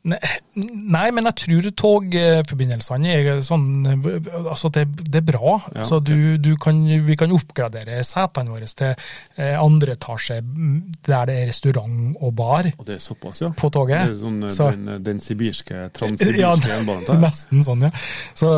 A: Nei, men jeg tror togforbindelsene er sånn Altså, det, det er bra.
B: Ja,
A: altså, du, du kan, vi kan oppgradere setene våre til eh, andre etasje mm, der det er restaurant og bar
B: Og det er såpass, ja?
A: på
B: Det
A: toget.
B: er sånn, eh,
A: Så-
B: den, den sibirske,
A: Ja,
B: transsibirske jernbanen der?
A: Nesten sånn, ja. Så,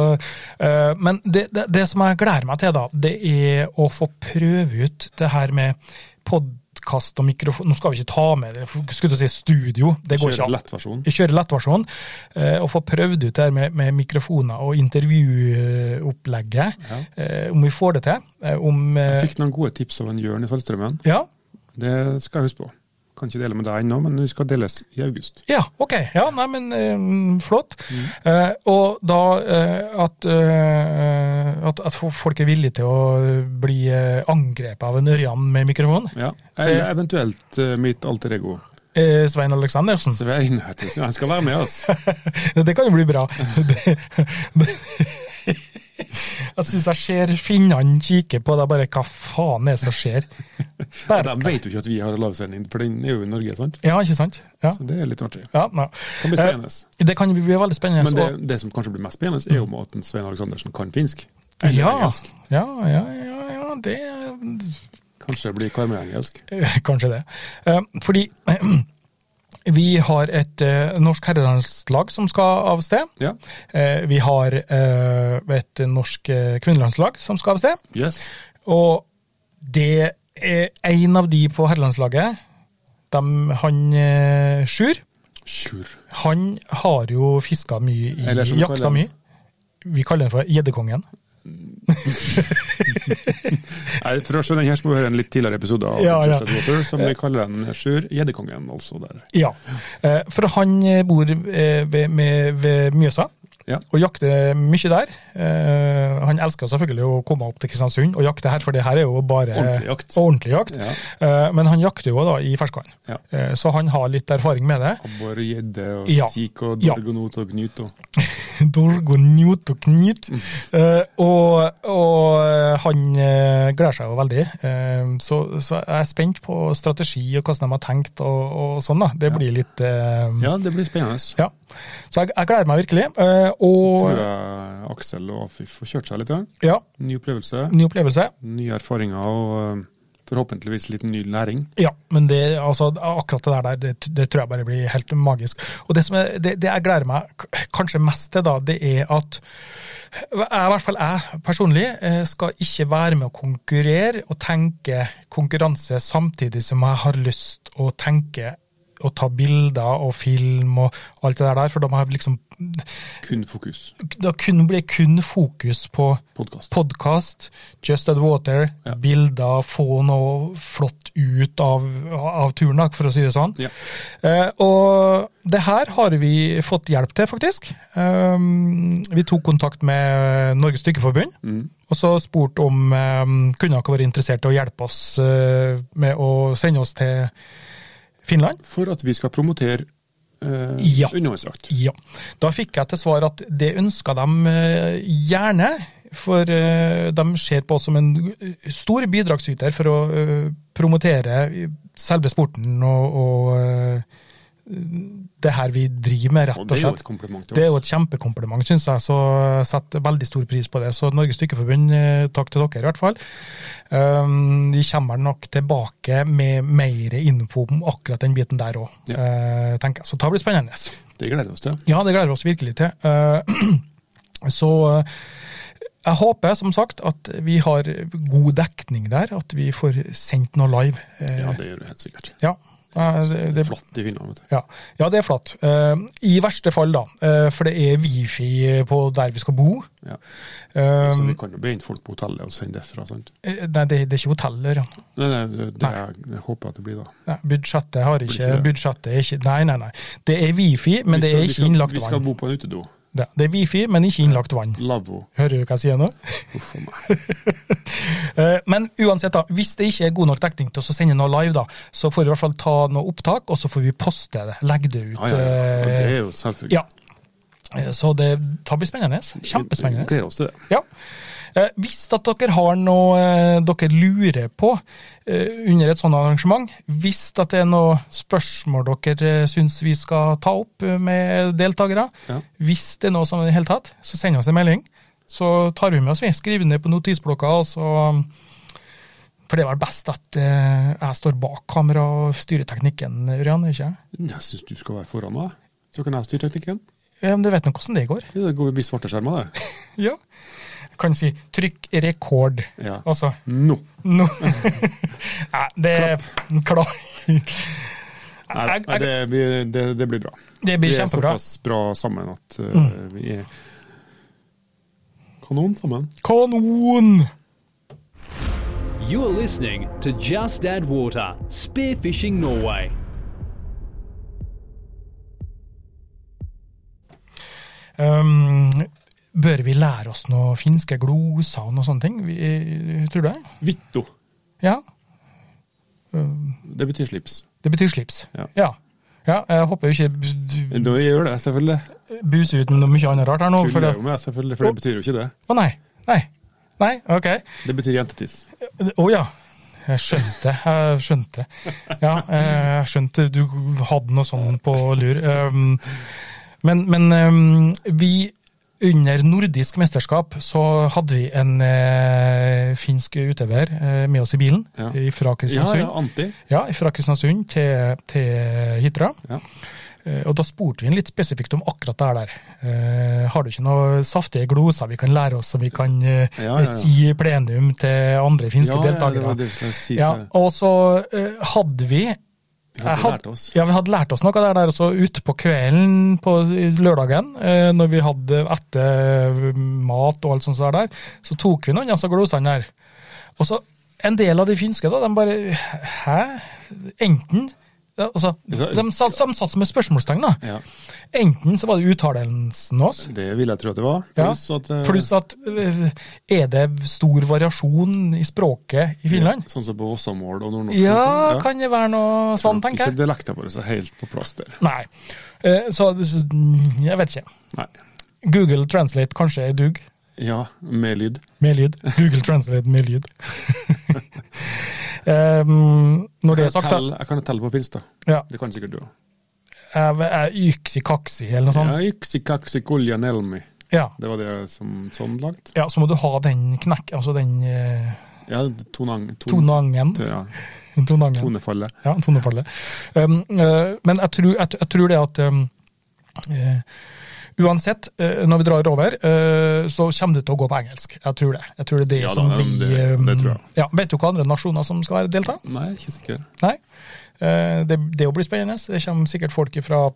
A: eh, men det, det, det som jeg gleder meg til, da, det er å få prøve ut det her med podkast utkast og mikrofon Nå skal vi ikke ta med det, for- skulle du si studio, det går ikke
B: Kjører
A: an.
B: lettversjon.
A: Jeg kjører lettversjonen, eh, og får prøvd ut det her med, med mikrofoner og intervjuopplegget.
B: Ja.
A: eh, Om vi får det til. eh, Om eh,
B: Jeg fikk noen gode tips av en Jørn i Saltstraumen.
A: Ja,
B: Det skal jeg huske på. Kan ikke dele med deg ennå, men vi skal deles i august.
A: Ja, ok. Ja, nei, men eh, flott.
B: Mm.
A: Eh, og da eh, at, eh, at, at folk er villige til å bli eh, angrepet av en ørjan med mikrofon.
B: Ja. Eller eventuelt eh, mitt alter ego.
A: Eh, Svein Aleksandersen.
B: *laughs* Svein heter han. Han skal være med
A: *laughs*
B: oss.
A: Det kan jo bli bra. *laughs* Det, det, jeg syns jeg ser finnene kikke på deg, bare hva faen er det som skjer?
B: De
A: Bare,
B: vet jo ikke at vi har lavsending, for den er jo i Norge, sant?
A: ja, ikke sant? Ja.
B: Så det er litt artig.
A: ja nei.
B: Kan bli spennende.
A: Eh, Det kan bli veldig spennende.
B: Men det,
A: og-
B: det som kanskje blir mest spennende, er jo om at Svein Aleksandersen kan finsk. Eller
A: ja,
B: engelsk.
A: ja, ja, ja, ja, det
B: Kanskje blir Karmøy-engelsk.
A: Eh, *laughs* Kanskje det. Eh, Fordi *clears throat* vi har et eh, norsk herrelandslag som skal av sted.
B: Ja.
A: Eh, Vi har eh, et norsk eh, kvinnelandslag som skal av sted.
B: Yes.
A: Og det er en av de på herrelandslaget, dem- han eh, Sjur,
B: Sjur.
A: han har jo fiska mye i
B: Eller som vi
A: Jakta
B: kaller
A: mye.
B: den.
A: Vi kaller den for Gjeddekongen.
B: Nei, For å skjønne den her, så må vi høre en litt tidligere episode av
A: Ja, ja. Eh.
B: Just At Water, som vi kaller den Sjur Gjeddekongen, altså. der.
A: Ja, eh, for han eh, bor eh, ved, med, ved Mjøsa
B: Ja.
A: og jakter mye der. Eh, Han elsker selvfølgelig å komme opp til Kristiansund og jakte her, for det her er jo bare
B: Ordentlig jakt.
A: ordentlig jakt.
B: Ja.
A: Eh, Men han jakter jo da i ferskvann,
B: Ja.
A: Eh, så han har litt erfaring med *laughs* det.
B: Abbor, gjedde og
A: Ja.
B: sik og
A: Ja.
B: dorgonot og gnyt og
A: Dorgo njut og knit.
B: Mm.
A: Eh, og, og eh, han eh, gleder seg jo veldig. Eh, så, så jeg er spent på strategi og hvordan de har tenkt og, og sånn. da. Det
B: Ja.
A: blir litt eh,
B: Ja, det blir spennende.
A: Ja. Så jeg, jeg gleder meg virkelig. eh,
B: Tror
A: og
B: jeg Aksel og Afif får kjørt seg litt. grann.
A: ja,
B: Ny opplevelse,
A: ny opplevelse.
B: nye erfaringer og eh, forhåpentligvis litt ny læring.
A: Ja, men det, altså, akkurat det der, det, det tror jeg bare blir helt magisk. Og det, som er, det, det jeg gleder meg k- kanskje mest til, da, det er at jeg, i hvert fall jeg personlig, eh, skal ikke være med å konkurrere og tenke konkurranse samtidig som jeg har lyst å tenke og ta bilder og film og alt det der, for da må jeg liksom
B: Kun fokus.
A: Da kun, blir kun fokus på
B: Podkast.
A: podkast, Just At Water,
B: Ja.
A: bilder, få noe flott ut av, av turen, da, for å si det sånn.
B: Ja.
A: Eh, og det her har vi fått hjelp til, faktisk. Um, vi tok kontakt med Norges Dykkerforbund,
B: Mm.
A: og så spurte om um, kunne dere være interessert i å hjelpe oss eh, med å sende oss til Finland.
B: For at vi skal promotere uh,
A: Ja.
B: undervannsjakt.
A: Ja. Da fikk jeg til svar at det ønska de eh, gjerne, for eh, de ser på oss som en eh, stor bidragsyter for å eh, promotere selve sporten og, og eh, det her vi driver med,
B: Og
A: rett
B: det
A: og
B: er jo et
A: slett.
B: kompliment til oss.
A: Det er jo et kjempekompliment, syns jeg, så jeg setter veldig stor pris på det. Så Norges Dykkerforbund, eh, takk til dere, i hvert fall. Um, Vi kommer nok tilbake med mer info om akkurat den biten der òg,
B: Ja.
A: tenker jeg. Så det blir spennende.
B: Det gleder vi oss til.
A: Ja, det gleder vi oss virkelig til. Eh, *clears throat* Så eh, jeg håper som sagt at vi har god dekning der, at vi får sendt noe live. Eh,
B: Ja, det gjør vi helt sikkert.
A: ja, eh, det,
B: Det
A: det,
B: er flatt i Finland, vet du.
A: ja. ja, det er flatt. Eh, I verste fall, da. eh, For det er wifi på der vi skal bo.
B: Ja.
A: Eh,
B: Så vi kan jo begjenne folk på hotellet og sende derfra, sant?
A: eh, Nei, det, det er ikke hoteller. Ja.
B: Nei, nei, det, det er, jeg håper jeg at det blir da.
A: Nei, Budsjettet har
B: Blir
A: ikke,
B: ikke det.
A: budsjettet er ikke Nei, nei, nei. Det er wifi, men
B: Vi
A: det
B: skal-
A: er
B: vi skal-
A: ikke innlagt
B: Vi skal
A: vann.
B: bo på en utedo.
A: Det det er wifi, men ikke innlagt vann.
B: Lavvo.
A: Hører du hva jeg sier nå?
B: Uff a meg.
A: Eh, Men uansett, da, hvis det ikke er god nok dekning til å sende noe live, da, så får vi i hvert fall ta noe opptak, og så får vi poste det. Legge det ut.
B: Ja, ja, ja. Ja, Det
A: eh,
B: er jo selvfølgelig.
A: ja. Eh, Så det det blir spennende.
B: Vi
A: Kjempespennende.
B: Gleder oss til det.
A: Ja. Eh, Hvis at dere har noe eh, dere lurer på eh, under et sånt arrangement, hvis at det er noe spørsmål dere eh, syns vi skal ta opp eh, med deltakere,
B: Ja.
A: hvis det er noe sånn i det hele tatt, så send oss en melding. Så tar vi med oss, vi. Skriver ned på notisblokka. og så- For det er vel best at eh, jeg står bak kamera og styrer teknikken, Ørjan? ikke jeg?
B: Jeg syns du skal være foran meg. Så kan jeg styre teknikken.
A: Ja, men Du vet nå hvordan det går?
B: Ja, Det går- blir svarte skjermer, det.
A: Ja. kan si trykk rekord.
B: Ja.
A: Altså,
B: Nå!
A: nå *laughs* Nei, det er Klapp.
B: Nei,
A: Jeg-
B: nei,
A: jeg-
B: det, blir- det, det blir bra.
A: Det blir
B: vi er
A: kjempebra. Mm.
B: såpass bra sammen at eh, vi er kanon sammen.
A: Kanon!
C: You're listening to Just Add Water Spearfishing Norway.
A: Um, bør vi lære oss noen finske gloser og noen sånne ting? Vi, eh, tror du det?
B: Vitto.
A: Ja. Um,
B: Det betyr slips.
A: det betyr slips.
B: Ja.
A: ja. Ja, jeg håper jo ikke b-
B: Da gjør det, selvfølgelig.
A: b- buser ut noe mye annet rart her nå.
B: Tuller
A: for
B: jeg
A: det-
B: jo med, selvfølgelig, for det betyr jo ikke det.
A: Å nei. Nei. Nei, ok.
B: Det betyr jentetiss.
A: Å ja. Jeg skjønte. Jeg skjønte. Ja, eh, jeg skjønte du hadde noe sånn på lur. Um, Men, men um, vi under nordisk mesterskap så hadde vi en eh, finsk utøver eh, med oss i bilen
B: Ja.
A: eh, fra
B: Ja, ja,
A: Kristiansund.
B: anti.
A: Ja, fra Kristiansund til, til Hitra.
B: Ja.
A: Eh, Og da spurte vi han litt spesifikt om akkurat det her der. Eh, har du ikke noen saftige gloser vi kan lære oss, som vi kan eh,
B: Ja, ja, ja.
A: si i plenum til andre finske
B: ja, ja, det
A: deltakere?
B: var det jeg skulle si.
A: Ja,
B: til-
A: og så eh, hadde vi
B: Vi
A: jeg
B: hadde
A: had-
B: lært oss.
A: Ja, vi hadde lært oss noe der, der også ute på kvelden på lørdagen, eh, når vi hadde etter mat og alt sånt der, der så tok vi noen av altså glosene der. Og så en del av de finske, da, de bare Hæ? Enten ja, Altså, de, satt, de satt som et spørsmålstegn, da.
B: Ja,
A: Enten så var det uttalelsen oss,
B: det ville jeg tro at det var.
A: Ja,
B: Pluss at, eh,
A: pluss at eh, Er det stor variasjon i språket i Finland?
B: Sånn som på Vossamål og nordnorsk.
A: Ja, kan det være noe sånn, tenker jeg.
B: Ikke dialekten vår er helt på plass der.
A: Nei. Eh, Så så, mm, jeg vet ikke.
B: Nei.
A: Google translate kanskje er dug.
B: Ja, med lyd.
A: Med lyd. Google translate med lyd. *laughs* Em, Ehm, når det er sagt, da.
B: Tell- jeg kan jo telle på finsk, da.
A: Ja,
B: Det kan sikkert du òg.
A: jeg- jeg Yksi-kaksi, eller noe sånt.
B: Ja, yksikaksi kuljanelmi.
A: Ja.
B: Det var det som sånn langt.
A: ja, så må du ha den knekk... Altså den eh,
B: Ja, tonang, ton,
A: tonangen.
B: ja,
A: Tonangen.
B: tonefallet.
A: *laughs* Ja, tonefallet. Um, øh, men jeg tror, jeg, jeg tror det at um, eh, Uansett, eh, når vi drar over, eh, så kommer det til å gå på engelsk. Jeg tror det. Jeg tror det er det
B: Ja da,
A: som
B: ja,
A: blir
B: det-
A: um,
B: det tror jeg.
A: Ja, vet du hva andre nasjoner som skal være delta?
B: Nei, jeg er ikke sikker.
A: Nei. Eh, det, det jo blir spennende. Det kommer sikkert folk fra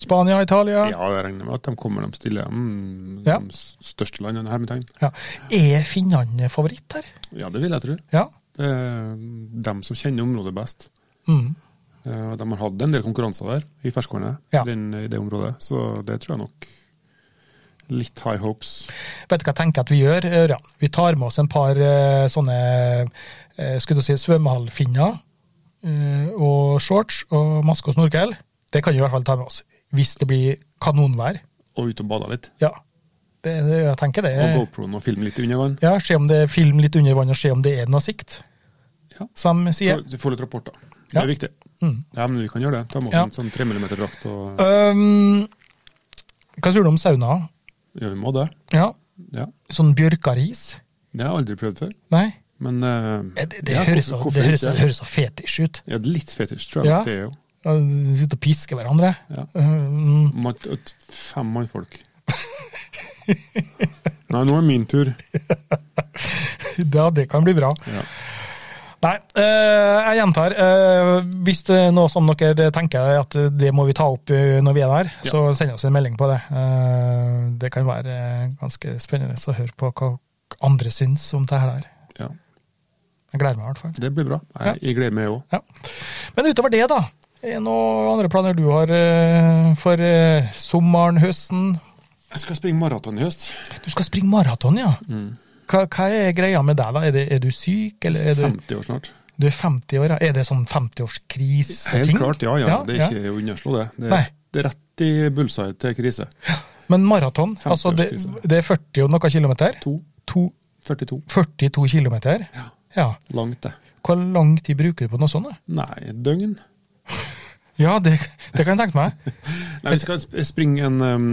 A: Spania, Italia.
B: Ja, jeg regner med at de kommer de stille. Mm,
A: Ja.
B: De s- største landene, hermetegn.
A: Ja. Er finnene favoritt her?
B: Ja, det vil jeg tro.
A: Ja.
B: Det er dem som kjenner området best.
A: Mm.
B: Eh, og De har hatt en del konkurranser der, i ferskvannet,
A: Ja.
B: i den- i det området. Så det tror jeg nok Litt high hopes.
A: Vet du hva jeg tenker at vi gjør, Ørjan? Vi tar med oss en par eh, sånne eh, skulle du si, svømmehallfinner eh, og shorts og maske og snorkel. Det kan vi i hvert fall ta med oss. Hvis det blir kanonvær.
B: Og ut og bade litt.
A: Ja, det, det, jeg tenker det.
B: Og GoProen og filme litt under vann.
A: Ja, Se om det er film litt under vann, og se om det er noe sikt,
B: Ja.
A: som de sier.
B: Få- Du får litt rapporter. Det
A: Ja.
B: er viktig.
A: Mm.
B: Ja, men vi kan gjøre det. Ta med oss
A: Ja.
B: en sånn 3 mm-drakt og
A: Um, hva tror du om sauna?
B: Ja, vi må det.
A: Ja,
B: Ja.
A: Sånn bjørkaris?
B: Det har jeg aldri prøvd før.
A: Nei?
B: Men eh,
A: Det, det,
B: ja,
A: høres, så,
B: hvorfor-
A: det,
B: hvorfor
A: høres,
B: ikke?
A: det høres så fetisj ut.
B: Ja, litt fetisj, tror jeg
A: Ja.
B: nok det er jo.
A: Sitte og piske hverandre.
B: Ja.
A: Um,
B: Man, et- fem mannfolk. Nei, nå er min tur.
A: *laughs* Ja, det kan bli bra.
B: Ja.
A: Nei, eh, jeg gjentar. eh, hvis det er noe som dere tenker at det må vi ta opp eh, når vi er der,
B: Ja.
A: så send oss en melding på det. Eh, det kan være eh, ganske spennende å høre på hva andre syns om det her. der.
B: Ja,
A: Jeg gleder meg i hvert fall.
B: det blir bra. Jeg, jeg gleder meg òg.
A: Men utover det, da. Er det noen andre planer du har eh, for eh, sommeren, høsten?
B: Jeg skal springe maraton i høst.
A: Du skal springe maraton, ja. Hva, hva er greia med deg, da? Er, det, er du syk, eller er du
B: 50 år snart.
A: Du er 50 år, ja. Er det sånn 50-årskrise-ting?
B: Helt klart, ja, ja.
A: Ja,
B: det er ikke å underslå det. Det
A: Nei.
B: er, det er rett i bullseye til krise.
A: Men maraton, altså det,
B: 50-årskrise.
A: det er 40 og noe kilometer?
B: To.
A: To,
B: 42.
A: 42 kilometer?
B: Ja.
A: Ja.
B: Langt, det.
A: Hvor lang tid bruker du på noe sånt? da?
B: Nei, døgn.
A: Ja, det, det kan jeg tenke meg.
B: Nei, vi skal sp- springe en, um,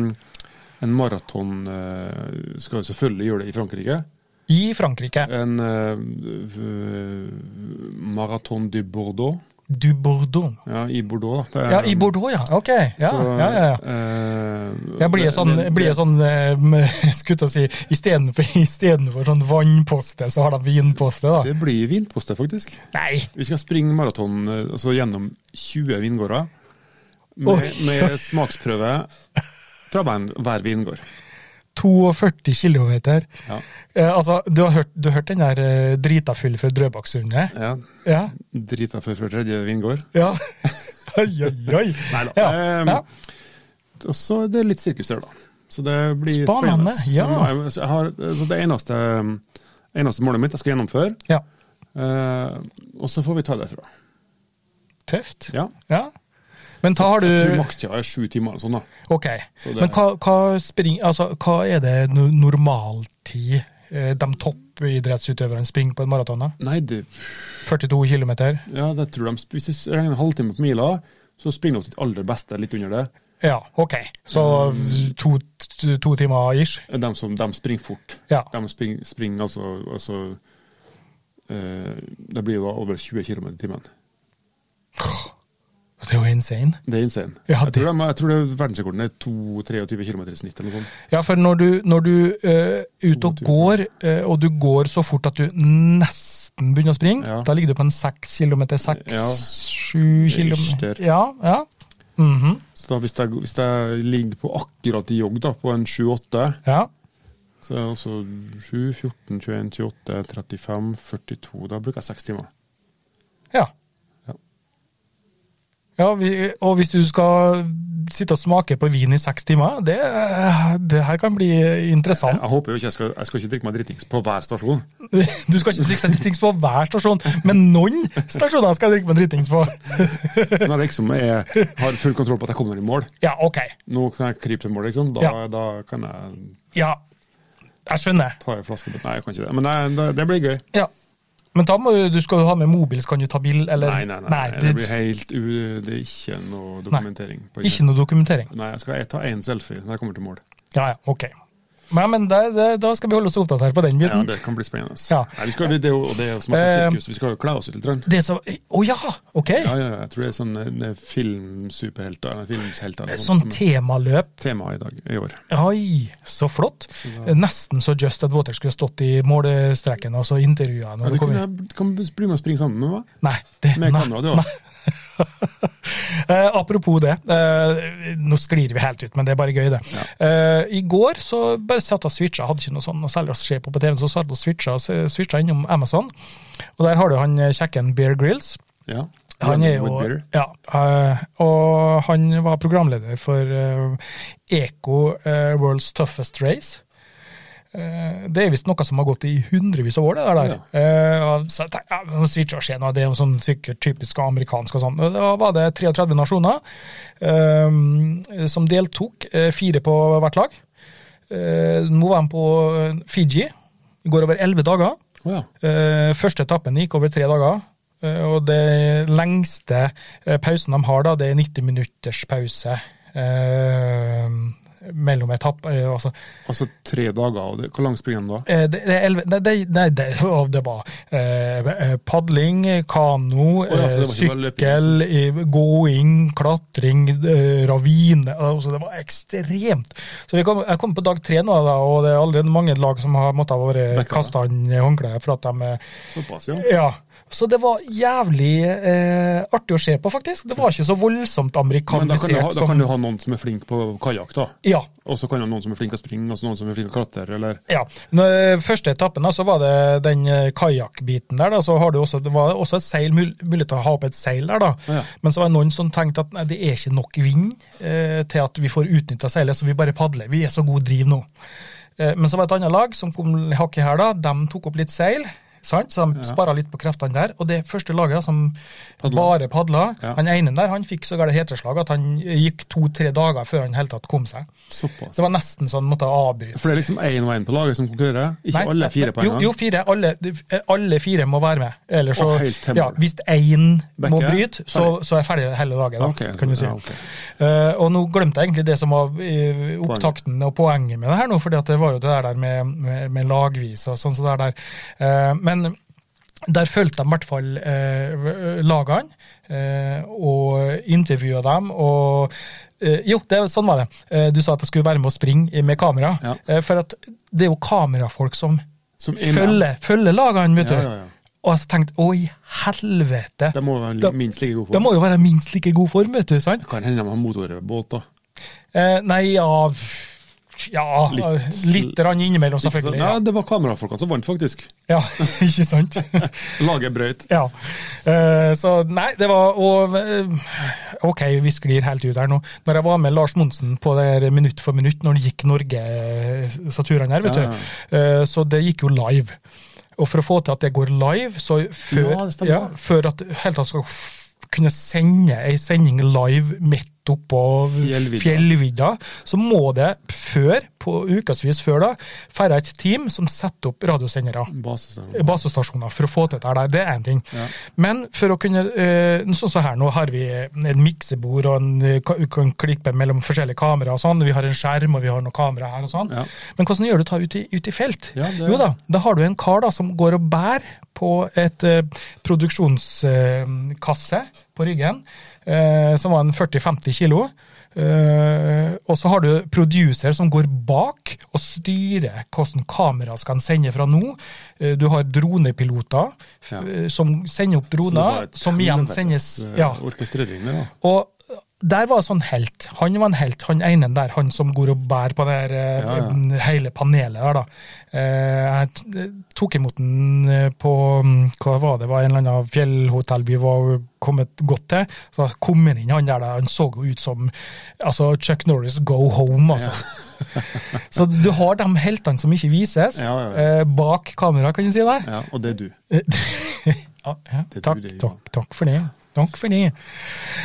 B: en maraton eh, Skal jo selvfølgelig gjøre det i Frankrike.
A: I Frankrike.
B: En eh, v- maraton de Bordeaux.
A: Du Bordeaux.
B: Ja, I Bordeaux, da. Det er-
A: Ja, i Bordeaux, ja. Ok. Ja,
B: Um, Så,
A: ja, ja. ja.
B: eh,
A: Jeg blir
B: det-
A: sånn,
B: det-
A: jeg blir sånn eh, *laughs* skulle til å si, istedenfor, istedenfor sånn vannposte, så har de vinposte, da.
B: Det blir vinposte, faktisk.
A: Nei!
B: Vi skal springe maraton eh, altså gjennom 20 vingårder med,
A: Oi.
B: med smaksprøve fra hver, hver vingård.
A: 42 km.
B: Ja.
A: Eh, altså, du har, hørt, du har hørt den der eh, drita full for Drøbaksundet?
B: ja.
A: Ja.
B: Drita før før tredje vingård.
A: ja. *laughs* Oi, oi, oi.
B: Neida.
A: Ja.
B: Ehm,
A: ja.
B: Og så er det litt sirkus der, da. Så det blir
A: Spennende,
B: spennende.
A: ja.
B: Så, nå er jeg- så, jeg har, så det eneste, eneste målet mitt jeg skal gjennomføre,
A: ja.
B: eh, og så får vi ta det derfra.
A: Tøft.
B: Ja.
A: Ja. Men hva har
B: Jeg tror
A: du
B: makstida er sju timer eller sånn, da.
A: Ok.
B: Så det-
A: Men hva, hva, spring, altså, hva er det no- normaltid eh, de toppidrettsutøverne springer på en maraton? da?
B: Nei, det,
A: 42 km?
B: ja, det tror de, hvis du regner en halvtime på mila, så springer de opp til det aller beste litt under det.
A: Ja, ok. Så
B: Mm.
A: to, to, to timer ish?
B: De som de springer fort.
A: Ja.
B: De springer, springer altså, altså eh, Det blir jo da over 20 km i timen.
A: Det er jo insane.
B: Det er insane.
A: Ja,
B: jeg,
A: det-
B: tror de, jeg tror det er verdensrekorden er 2-23 km i snitt eller noe sånt.
A: Ja, for når du, når du eh, er ute og
B: 22.
A: går, eh, og du går så fort at du nesten begynner å springe,
B: Ja.
A: da ligger du på en seks kilometer,
B: Ja.
A: seks, sju
B: der.
A: kilometer. Ja, ja. Mhm,
B: Så da hvis jeg, hvis jeg ligger på akkurat i jogg, da, på en 7-8,
A: ja.
B: så er det altså 7, 14, 21, 28, 35, 42 Da bruker jeg seks timer.
A: Ja.
B: Ja.
A: Ja, vi, og hvis du skal sitte og smake på vin i seks timer, det, det her kan bli interessant.
B: Jeg håper jo ikke jeg skal, jeg skal ikke drikke meg dritings på hver stasjon.
A: *laughs* Du skal ikke drikke deg dritings på hver stasjon, men noen stasjoner skal jeg drikke meg dritings på.
B: Når jeg liksom er, har full kontroll på at jeg kommer i mål,
A: Ja, ok.
B: nå kan jeg krype til mål, liksom, da,
A: Ja.
B: da kan jeg
A: Ja, jeg skjønner.
B: Ta en flaske Nei, jeg kan ikke det. Men nei, det, det blir gøy.
A: Ja. Men da må du, du skal jo ha med mobil, så kan du ta bil, eller?
B: Nei, nei, nei. nei det
A: det-
B: blir helt u... Det er ikke noe dokumentering. På
A: Ikke noe dokumentering.
B: Nei, jeg skal jeg ta én selfie når jeg kommer til mål.
A: Ja, ja, ok. Nei, men det, det, da skal vi holde oss opptatt her på den
B: Ja,
A: biten.
B: Det kan bli spennende. ass.
A: Ja.
B: Nei, vi skal, det, er jo, og det er jo så masse
A: Eh,
B: sirkus, vi skal jo kle oss litt. grann.
A: Det som, å ja, ok.
B: Ja, ja, jeg tror det er sånn eh, det er filmsuperhelter eller filmshelter. eller
A: Sånn
B: som er
A: temaløp.
B: tema i dag, i år.
A: Oi, så flott. Nesten så Just at Water skulle stått i målestreken og så intervjua
B: Ja,
A: når
B: du
A: du kom
B: kan,
A: inn.
B: kan bli med og springe sammen med meg.
A: Nei, det,
B: Med
A: nei,
B: kamera, du òg.
A: Eh, apropos det, eh, nå sklir vi helt ut, men det er bare gøy, det. Eh, I går så bare satt og switcha, hadde ikke noe sånn noe særlig å se på på TV, så satt og switcha, og switcha innom Amazon. Og der har du han eh, kjekken Bear Grills.
B: Ja.
A: Han er jo,
B: With beer.
A: ja, eh, og han var programleder for eh, Eco eh, World's Toughest Race. Eh, Det er visst noe som har gått i hundrevis av år, det der. der. Eh, og så jeg tenkte, ja, nå switcher jeg noe, det er jo sånn sikkert typisk amerikansk og sånn. Og Da var det 33 nasjoner eh, som deltok, eh, fire på hvert lag. Eh, Nå var de på eh, Fiji, går over 11 dager.
B: Å ja.
A: Eh, første etappen gikk over tre dager. eh, og det lengste eh, pausen de har, da, det er 90 minutters pause eh, mellom etapp... eh, altså,
B: Altså tre dager, og det, hvor langt springer han da?
A: eh, det, det er elleve Nei, det, nei, det, *laughs* å, det var eh, eh, padling, kano,
B: ja, så det var ikke bare
A: eh,
B: løping, liksom.
A: sykkel, eh, gåing, klatring, eh, ravine altså, Det var ekstremt. Så vi kom, jeg kom på dag tre nå, da, og det er allerede mange lag som har måttet ha
B: Backa,
A: vært
B: da.
A: kasta inn i håndkleet for at de eh,
B: Såpass, ja.
A: ja, så det var jævlig eh, artig å se på, faktisk. Det var ikke så voldsomt
B: Men da kan, du ha,
A: amerikanisert
B: da kan
A: som
B: du ha noen som er flink på kajakk, da.
A: ja,
B: Og så kan det være noen som er flink til å springe, og så noen som er flink til å klatre, eller
A: ja. Nå, Første etappen da, så var det den eh, kajakkbiten der. Da, så har du også, det var også et seil, mul mulighet til å ha opp et seil der. da.
B: Ja.
A: Men så var det noen som tenkte at nei, det er ikke nok vind eh, til at vi får utnytta seilet, så vi bare padler. Vi er så god driv nå. Eh, men så var det et annet lag som kom hakket her, da. De tok opp litt seil. Sant? Så de spara litt på kreftene der. Og det første laget som bare padla,
B: Ja.
A: han ene der, han fikk sågar det heteslag at han eh, gikk to-tre dager før han i hele tatt kom seg.
B: såpass.
A: Det var nesten sånn måtte avbryte.
B: For det er liksom én og én på laget som konkurrerer? Ikke
A: Nei,
B: alle
A: nei,
B: fire
A: nei,
B: på en gang?
A: Jo, jo fire, alle, de- alle fire må være med. Ellers så,
B: Å, helt til
A: ja,
B: mål.
A: hvis én må
B: Backer.
A: bryte, så, så er ferdig hele laget. Da,
B: Ok, så-
A: kan du si.
B: ja, ok.
A: Eh, og nå glemte jeg egentlig det som var eh, opptakten og poenget med det her nå, fordi at det var jo det der med, med, med lagvis og sånn som det er der. Eh, men Der fulgte de i hvert fall eh, lagene, eh, og intervjua dem. og eh, Jo, det, sånn var det. Eh, du sa at jeg skulle være med og springe med kamera.
B: Ja.
A: Eh, for at det er jo kamerafolk som
B: Som er med.
A: følger, følger lagene, vet du.
B: Ja, ja, ja.
A: Og jeg tenkte å i helvete!
B: De må være
A: Da-
B: li- minst like gode
A: De
B: for
A: må jo være i minst like god form, vet du. sant?
B: det. Kan hende de har motorbåt, da.
A: Eh, nei, ja Ja, litt,
B: Litt- sånn,
A: rann innimellom, selvfølgelig.
B: Ja, det var kamerafolkene som vant, faktisk.
A: Ja, *laughs* ikke sant?
B: *laughs* Laget brøyt.
A: Ja. Eh, så nei, det var Og eh, OK, vi sklir helt ut her nå. Når jeg var med Lars Monsen på det her Minutt for minutt, når han gikk Norge, eh, så turene her, vet
B: Ja,
A: du. Eh, så det gikk jo live. Og for å få til at det går live, så før,
B: Ja, det stemmer.
A: ja, før at helt tatt skal f- kunne sende ei sending live midt oppå
B: Fjellvidda.
A: fjellvidda, så må det før, på ukevis før da, færre et team som setter opp radiosendere
B: Basestasjon.
A: eh, basestasjoner for å få til det her. Det er én ting.
B: Ja.
A: Men for å kunne eh, Sånn som her nå har vi en miksebord og en, eh, ka- kan klippe mellom forskjellige kamera og sånn. Vi har en skjerm og vi har noe kamera her og sånn.
B: Ja.
A: Men hvordan gjør du det ut, i- ut i felt?
B: Ja, det-
A: Jo da, da har du en kar da som går og bærer på et eh, produksjonskasse på ryggen, eh, som var en 40-50 kilo. Eh, og så har du producer som går bak og styrer hvordan kamera skal han sende fra nå. Eh, du har dronepiloter
B: Ja.
A: eh, som sender opp
B: Så det var
A: droner,
B: et
A: som igjen
B: helvetes,
A: sendes
B: eh,
A: ja.
B: Orkestrering der, da.
A: Og der var sånn helt. Han var en helt, han ene der, han som går og bærer på det her, eh,
B: Ja, ja.
A: hele panelet der, da. Eh, Jeg t- tok imot den eh, på mm, hva var det, det var en eller annen fjellhotell vi var kommet godt til. Så kom han inn, han der, da, han så jo ut som altså Chuck Norris go home, altså. *laughs* så du har de heltene som ikke vises,
B: Ja, ja,
A: eh, bak kamera, kan du si det.
B: Ja, og det er du.
A: *laughs* Ja, ja.
B: Det tror
A: Takk,
B: jeg, ja.
A: takk, takk for det. Takk for det.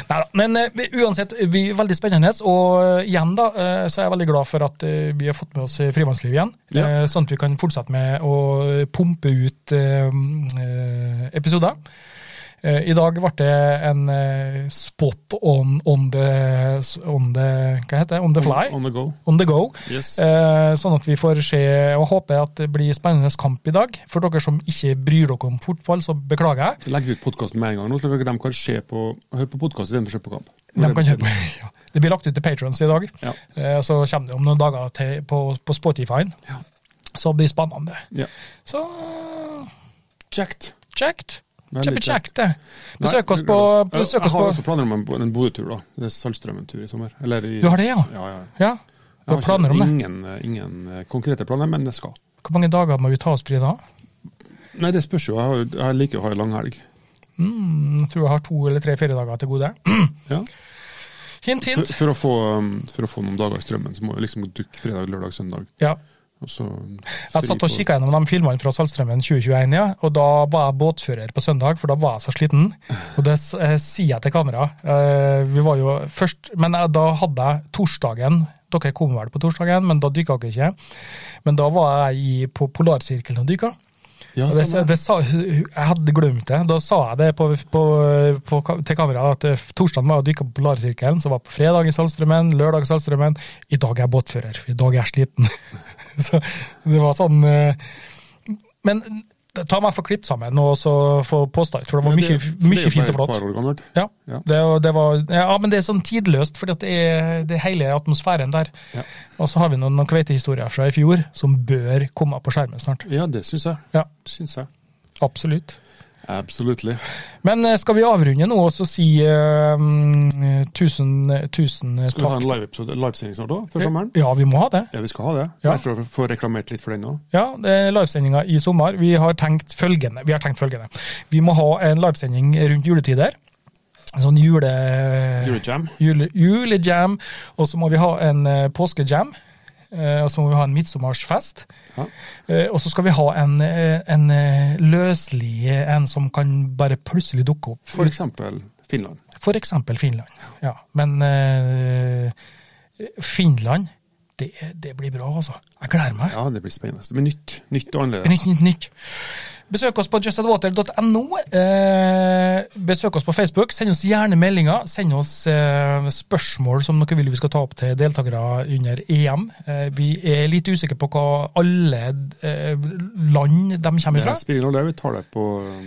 A: Neida, men eh, vi- uansett, vi er veldig spennende. Og eh, igjen da, eh, så er jeg veldig glad for at eh, vi har fått med oss eh, frivannsliv igjen.
B: Ja.
A: eh, Sånn at vi kan fortsette med å pumpe ut eh, eh, episoder. Eh, I dag ble det en eh, spot on, on, the, on the Hva heter det? On the fly?
B: On, on the go.
A: On the go.
B: Yes.
A: Eh, Sånn at vi får se og håpe at det blir spennende kamp i dag. For dere som ikke bryr dere om fotball, så beklager jeg.
B: Legg ut podkasten med en gang, nå, så de kan se på, høre på podkast istedenfor å se på kamp.
A: De kan kjøpe. *laughs* Ja. Det blir lagt ut til patrons i dag,
B: Ja.
A: Eh, så kommer det om noen dager til på, på Spotify.
B: Ja.
A: Så det blir spennende.
B: Ja.
A: Så
B: Kjekt.
A: kjekt.
B: Veldig
A: Kjempekjekt, det.
B: Nei,
A: Besøk oss
B: det
A: på,
B: gleder oss.
A: besøk
B: Jeg
A: oss
B: har
A: på
B: også planer om en, en Bodø-tur, da. Det er Saltstrømmen-tur i sommer. Eller i,
A: Du har det, ja?
B: Ja, ja.
A: Ja,
B: Jeg
A: du har planer om det.
B: ingen, ingen eh, konkrete planer, men jeg skal.
A: Hvor mange dager må vi ta oss fri da?
B: Nei, det spørs jo. Jeg, har, jo- jeg liker å ha en lang helg.
A: Mm, jeg tror jeg har to eller tre-fire dager til gode.
B: Ja.
A: Hint,
B: For,
A: hint.
B: for, å få, um, for å få noen dager i strømmen, så må jeg liksom dukke fredag, lørdag, søndag.
A: Ja.
B: Og så
A: Jeg satt og kikka gjennom de filmene fra Saltstraumen 2021, ja, og da var jeg båtfører på søndag, for da var jeg så sliten. Og det s- eh, sier jeg til kameraet. Eh, Vi var jo først, men jeg- da hadde jeg torsdagen Dere kom vel på torsdagen, men da dykka dere ikke. Men da var jeg i, på Polarsirkelen og dykka.
B: Ja,
A: Og det,
B: stemmer.
A: det sa, jeg hadde glemt det. Da sa jeg det på, på, på, til kameraet at eh, torsdagen var å dykke på Polarsirkelen, så var jeg på fredag i Saltstraumen, lørdag i Saltstraumen. I dag er jeg båtfører, i dag er jeg sliten. *laughs* så det var sånn eh, Men eh, ta meg for klipp sammen og så få posta ut, for det var
B: Ja,
A: mye,
B: det- for det er jo
A: mye fint
B: bare
A: og flott.
B: et par år gammelt.
A: Ja,
B: Ja.
A: det, og det var, ja, men det er sånn tidløst, fordi at det er det er hele atmosfæren der.
B: Ja.
A: Og så har vi noen, noen kveitehistorier fra i fjor som bør komme på skjermen snart.
B: Ja, det syns jeg.
A: Ja,
B: Syns jeg.
A: absolutt.
B: Absolutely.
A: Men eh, skal vi avrunde nå og så si eh, mm, tusen, tusen eh,
B: Skal vi ha en
A: takk?
B: live-episode- livesending snart òg, før sommeren?
A: Ja, vi må ha det.
B: Ja, vi skal ha det.
A: Ja.
B: Bare for å få reklamert litt for den òg.
A: Ja, det er Livesendinga i sommer. Vi har tenkt følgende. Vi, har tenkt følgende. vi må ha en livesending rundt juletider. En Sånn jule...
B: Eurojam.
A: Jule, julejam. Og så må vi ha en eh, påskejam. Eh, Og så må vi ha en midtsommersfest.
B: Ja.
A: Eh, Og så skal vi ha en, eh, en eh, løslig eh, en som kan bare plutselig dukke opp.
B: For eksempel Finland.
A: For eksempel Finland. Ja, men eh, Finland, det, det blir bra, altså. Jeg gleder meg.
B: Ja, det blir spennende. Men nytt. Nytt og
A: Nytt,
B: annerledes.
A: nytt, nytt. Besøk oss på justadwater.no. Eh, besøk oss på Facebook. Send oss gjerne meldinger. Send oss eh, spørsmål som dere vil vi skal ta opp til deltakere under EM. Eh, vi er litt usikre på hva alle eh, land de kommer
B: Det
A: fra.
B: spiller ingen rolle, vi tar det på um,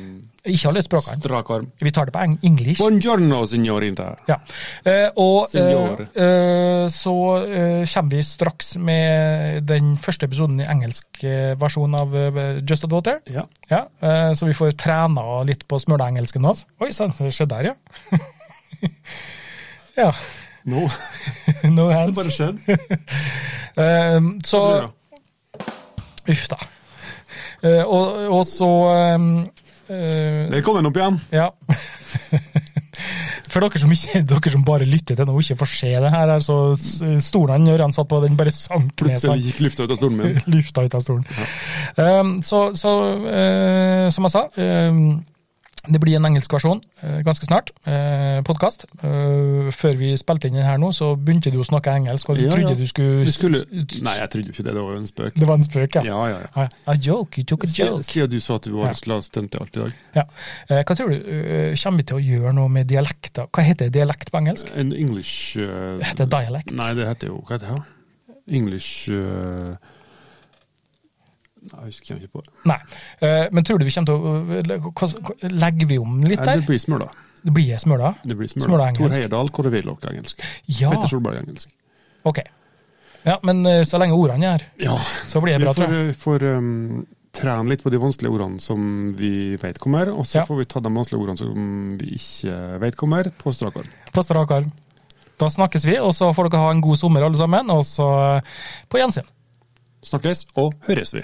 A: Ikke alle språkene.
B: strak arm.
A: Vi tar det på eng- engelsk.
B: Buongiorno, signorita.
A: Ja. Eh, og
B: Senior.
A: eh, eh, så eh, kommer vi straks med den første episoden i engelsk eh, versjon av eh, Just Ad Water.
B: Ja.
A: Ja, eh, så vi får trena litt på smøleengelsken hans. Oi sann, det skjedde der, ja. *laughs* ja,
B: Nå *laughs*
A: no
B: har det
A: hands.
B: bare skjedd.
A: Eh, så Uff, da. Eh, og, og så eh, eh,
B: Der kom den opp igjen.
A: Ja. *laughs* For dere som, ikke, dere som bare lytter til nå og ikke får se det her, her, så s- stolen han Ørjan satt på, den bare sank ned. så han-
B: Plutselig gikk lufta ut av stolen min.
A: lufta ut av stolen. Um, så så eh, som jeg sa, ehm, det blir en engelsk versjon eh, ganske snart. Uh, Podkast. før vi spilte inn den her nå, så begynte du å snakke engelsk, og du
B: Ja,
A: trodde
B: ja.
A: du skulle,
B: Vi skulle Nei, jeg trodde jo ikke det, det var jo en spøk.
A: Det var en spøk, ja.
B: Ja, ja, ja.
A: Ah, A joke, you took a
B: Siden
A: joke.
B: siden du sa at du var la oss stunte alt i dag.
A: Ja. Eh, hva tror du, eh, kommer vi til å gjøre noe med dialekter? Hva heter dialekt på engelsk?
B: En English uh,
A: Det heter dialekt.
B: Nei, det heter jo Hva heter det? da? English uh, Nei, jeg husker jeg ikke på. det.
A: Nei. Eh, men tror du vi kommer til å eh, hva- hva- Legger vi om litt
B: Nei,
A: der?
B: det blir smøla.
A: Det blir jeg smøla?
B: Det blir
A: Smøla
B: smøla.
A: engelsk.
B: Tor Heyerdahl, Kåre Willoch engelsk.
A: Ja,
B: Petter Solberg engelsk.
A: ok. Ja, Men eh, så lenge ordene er her,
B: Ja,
A: så blir det
B: Vi
A: bra, tror
B: får,
A: jeg.
B: får um, trene litt på de vanskelige ordene som vi vet kommer, og så
A: Ja.
B: får vi ta de vanskelige ordene som vi ikke vet kommer, på strak arm.
A: På strak arm. Da snakkes vi, og så får dere ha en god sommer alle sammen, og så eh, på gjensyn.
B: Snakkes og høres vi.